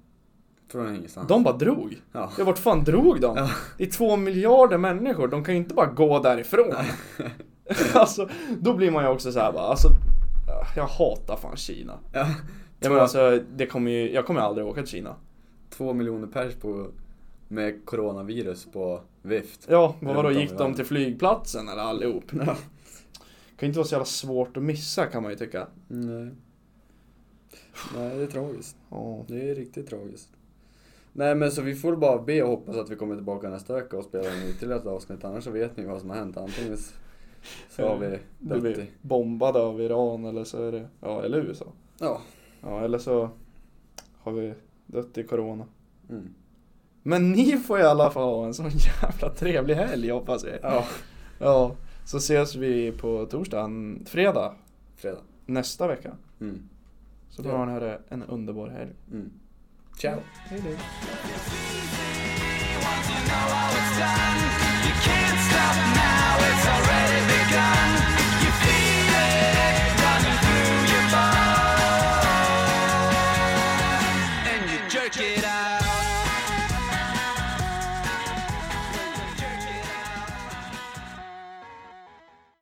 Speaker 1: Från ingenstans.
Speaker 2: De bara drog.
Speaker 1: Ja.
Speaker 2: Ja, vart fan drog de?
Speaker 1: Ja.
Speaker 2: Det är två miljarder människor, de kan ju inte bara gå därifrån. alltså, då blir man ju också så här bara, alltså, jag hatar fan Kina.
Speaker 1: Ja.
Speaker 2: Jag, menar, alltså, det kommer ju, jag kommer aldrig åka till Kina.
Speaker 1: Två miljoner pers på, med coronavirus på vift.
Speaker 2: Ja,
Speaker 1: Runt
Speaker 2: vad vadå,
Speaker 1: om i
Speaker 2: gick de
Speaker 1: världen.
Speaker 2: till flygplatsen eller allihop? Det kan inte vara så jävla svårt att missa kan man ju tycka.
Speaker 1: Nej. Nej, det är tragiskt. Det är riktigt tragiskt. Nej men så vi får bara be och hoppas att vi kommer tillbaka nästa vecka och spelar en ytterligare ett avsnitt. Annars så vet ni vad som har hänt. Antingen s- så har vi
Speaker 2: Där vi är
Speaker 1: Dutti.
Speaker 2: bombade av Iran eller så är det, ja eller USA.
Speaker 1: Ja.
Speaker 2: Ja eller så har vi dött i corona.
Speaker 1: Mm.
Speaker 2: Men ni får i alla fall ha en sån jävla trevlig helg hoppas jag.
Speaker 1: Ja.
Speaker 2: Ja, så ses vi på torsdag, fredag
Speaker 1: Fredag.
Speaker 2: nästa vecka.
Speaker 1: Mm.
Speaker 2: Så får ni höra en underbar helg.
Speaker 1: Mm. Ciao.
Speaker 2: Hej då.
Speaker 3: and you jerk it out.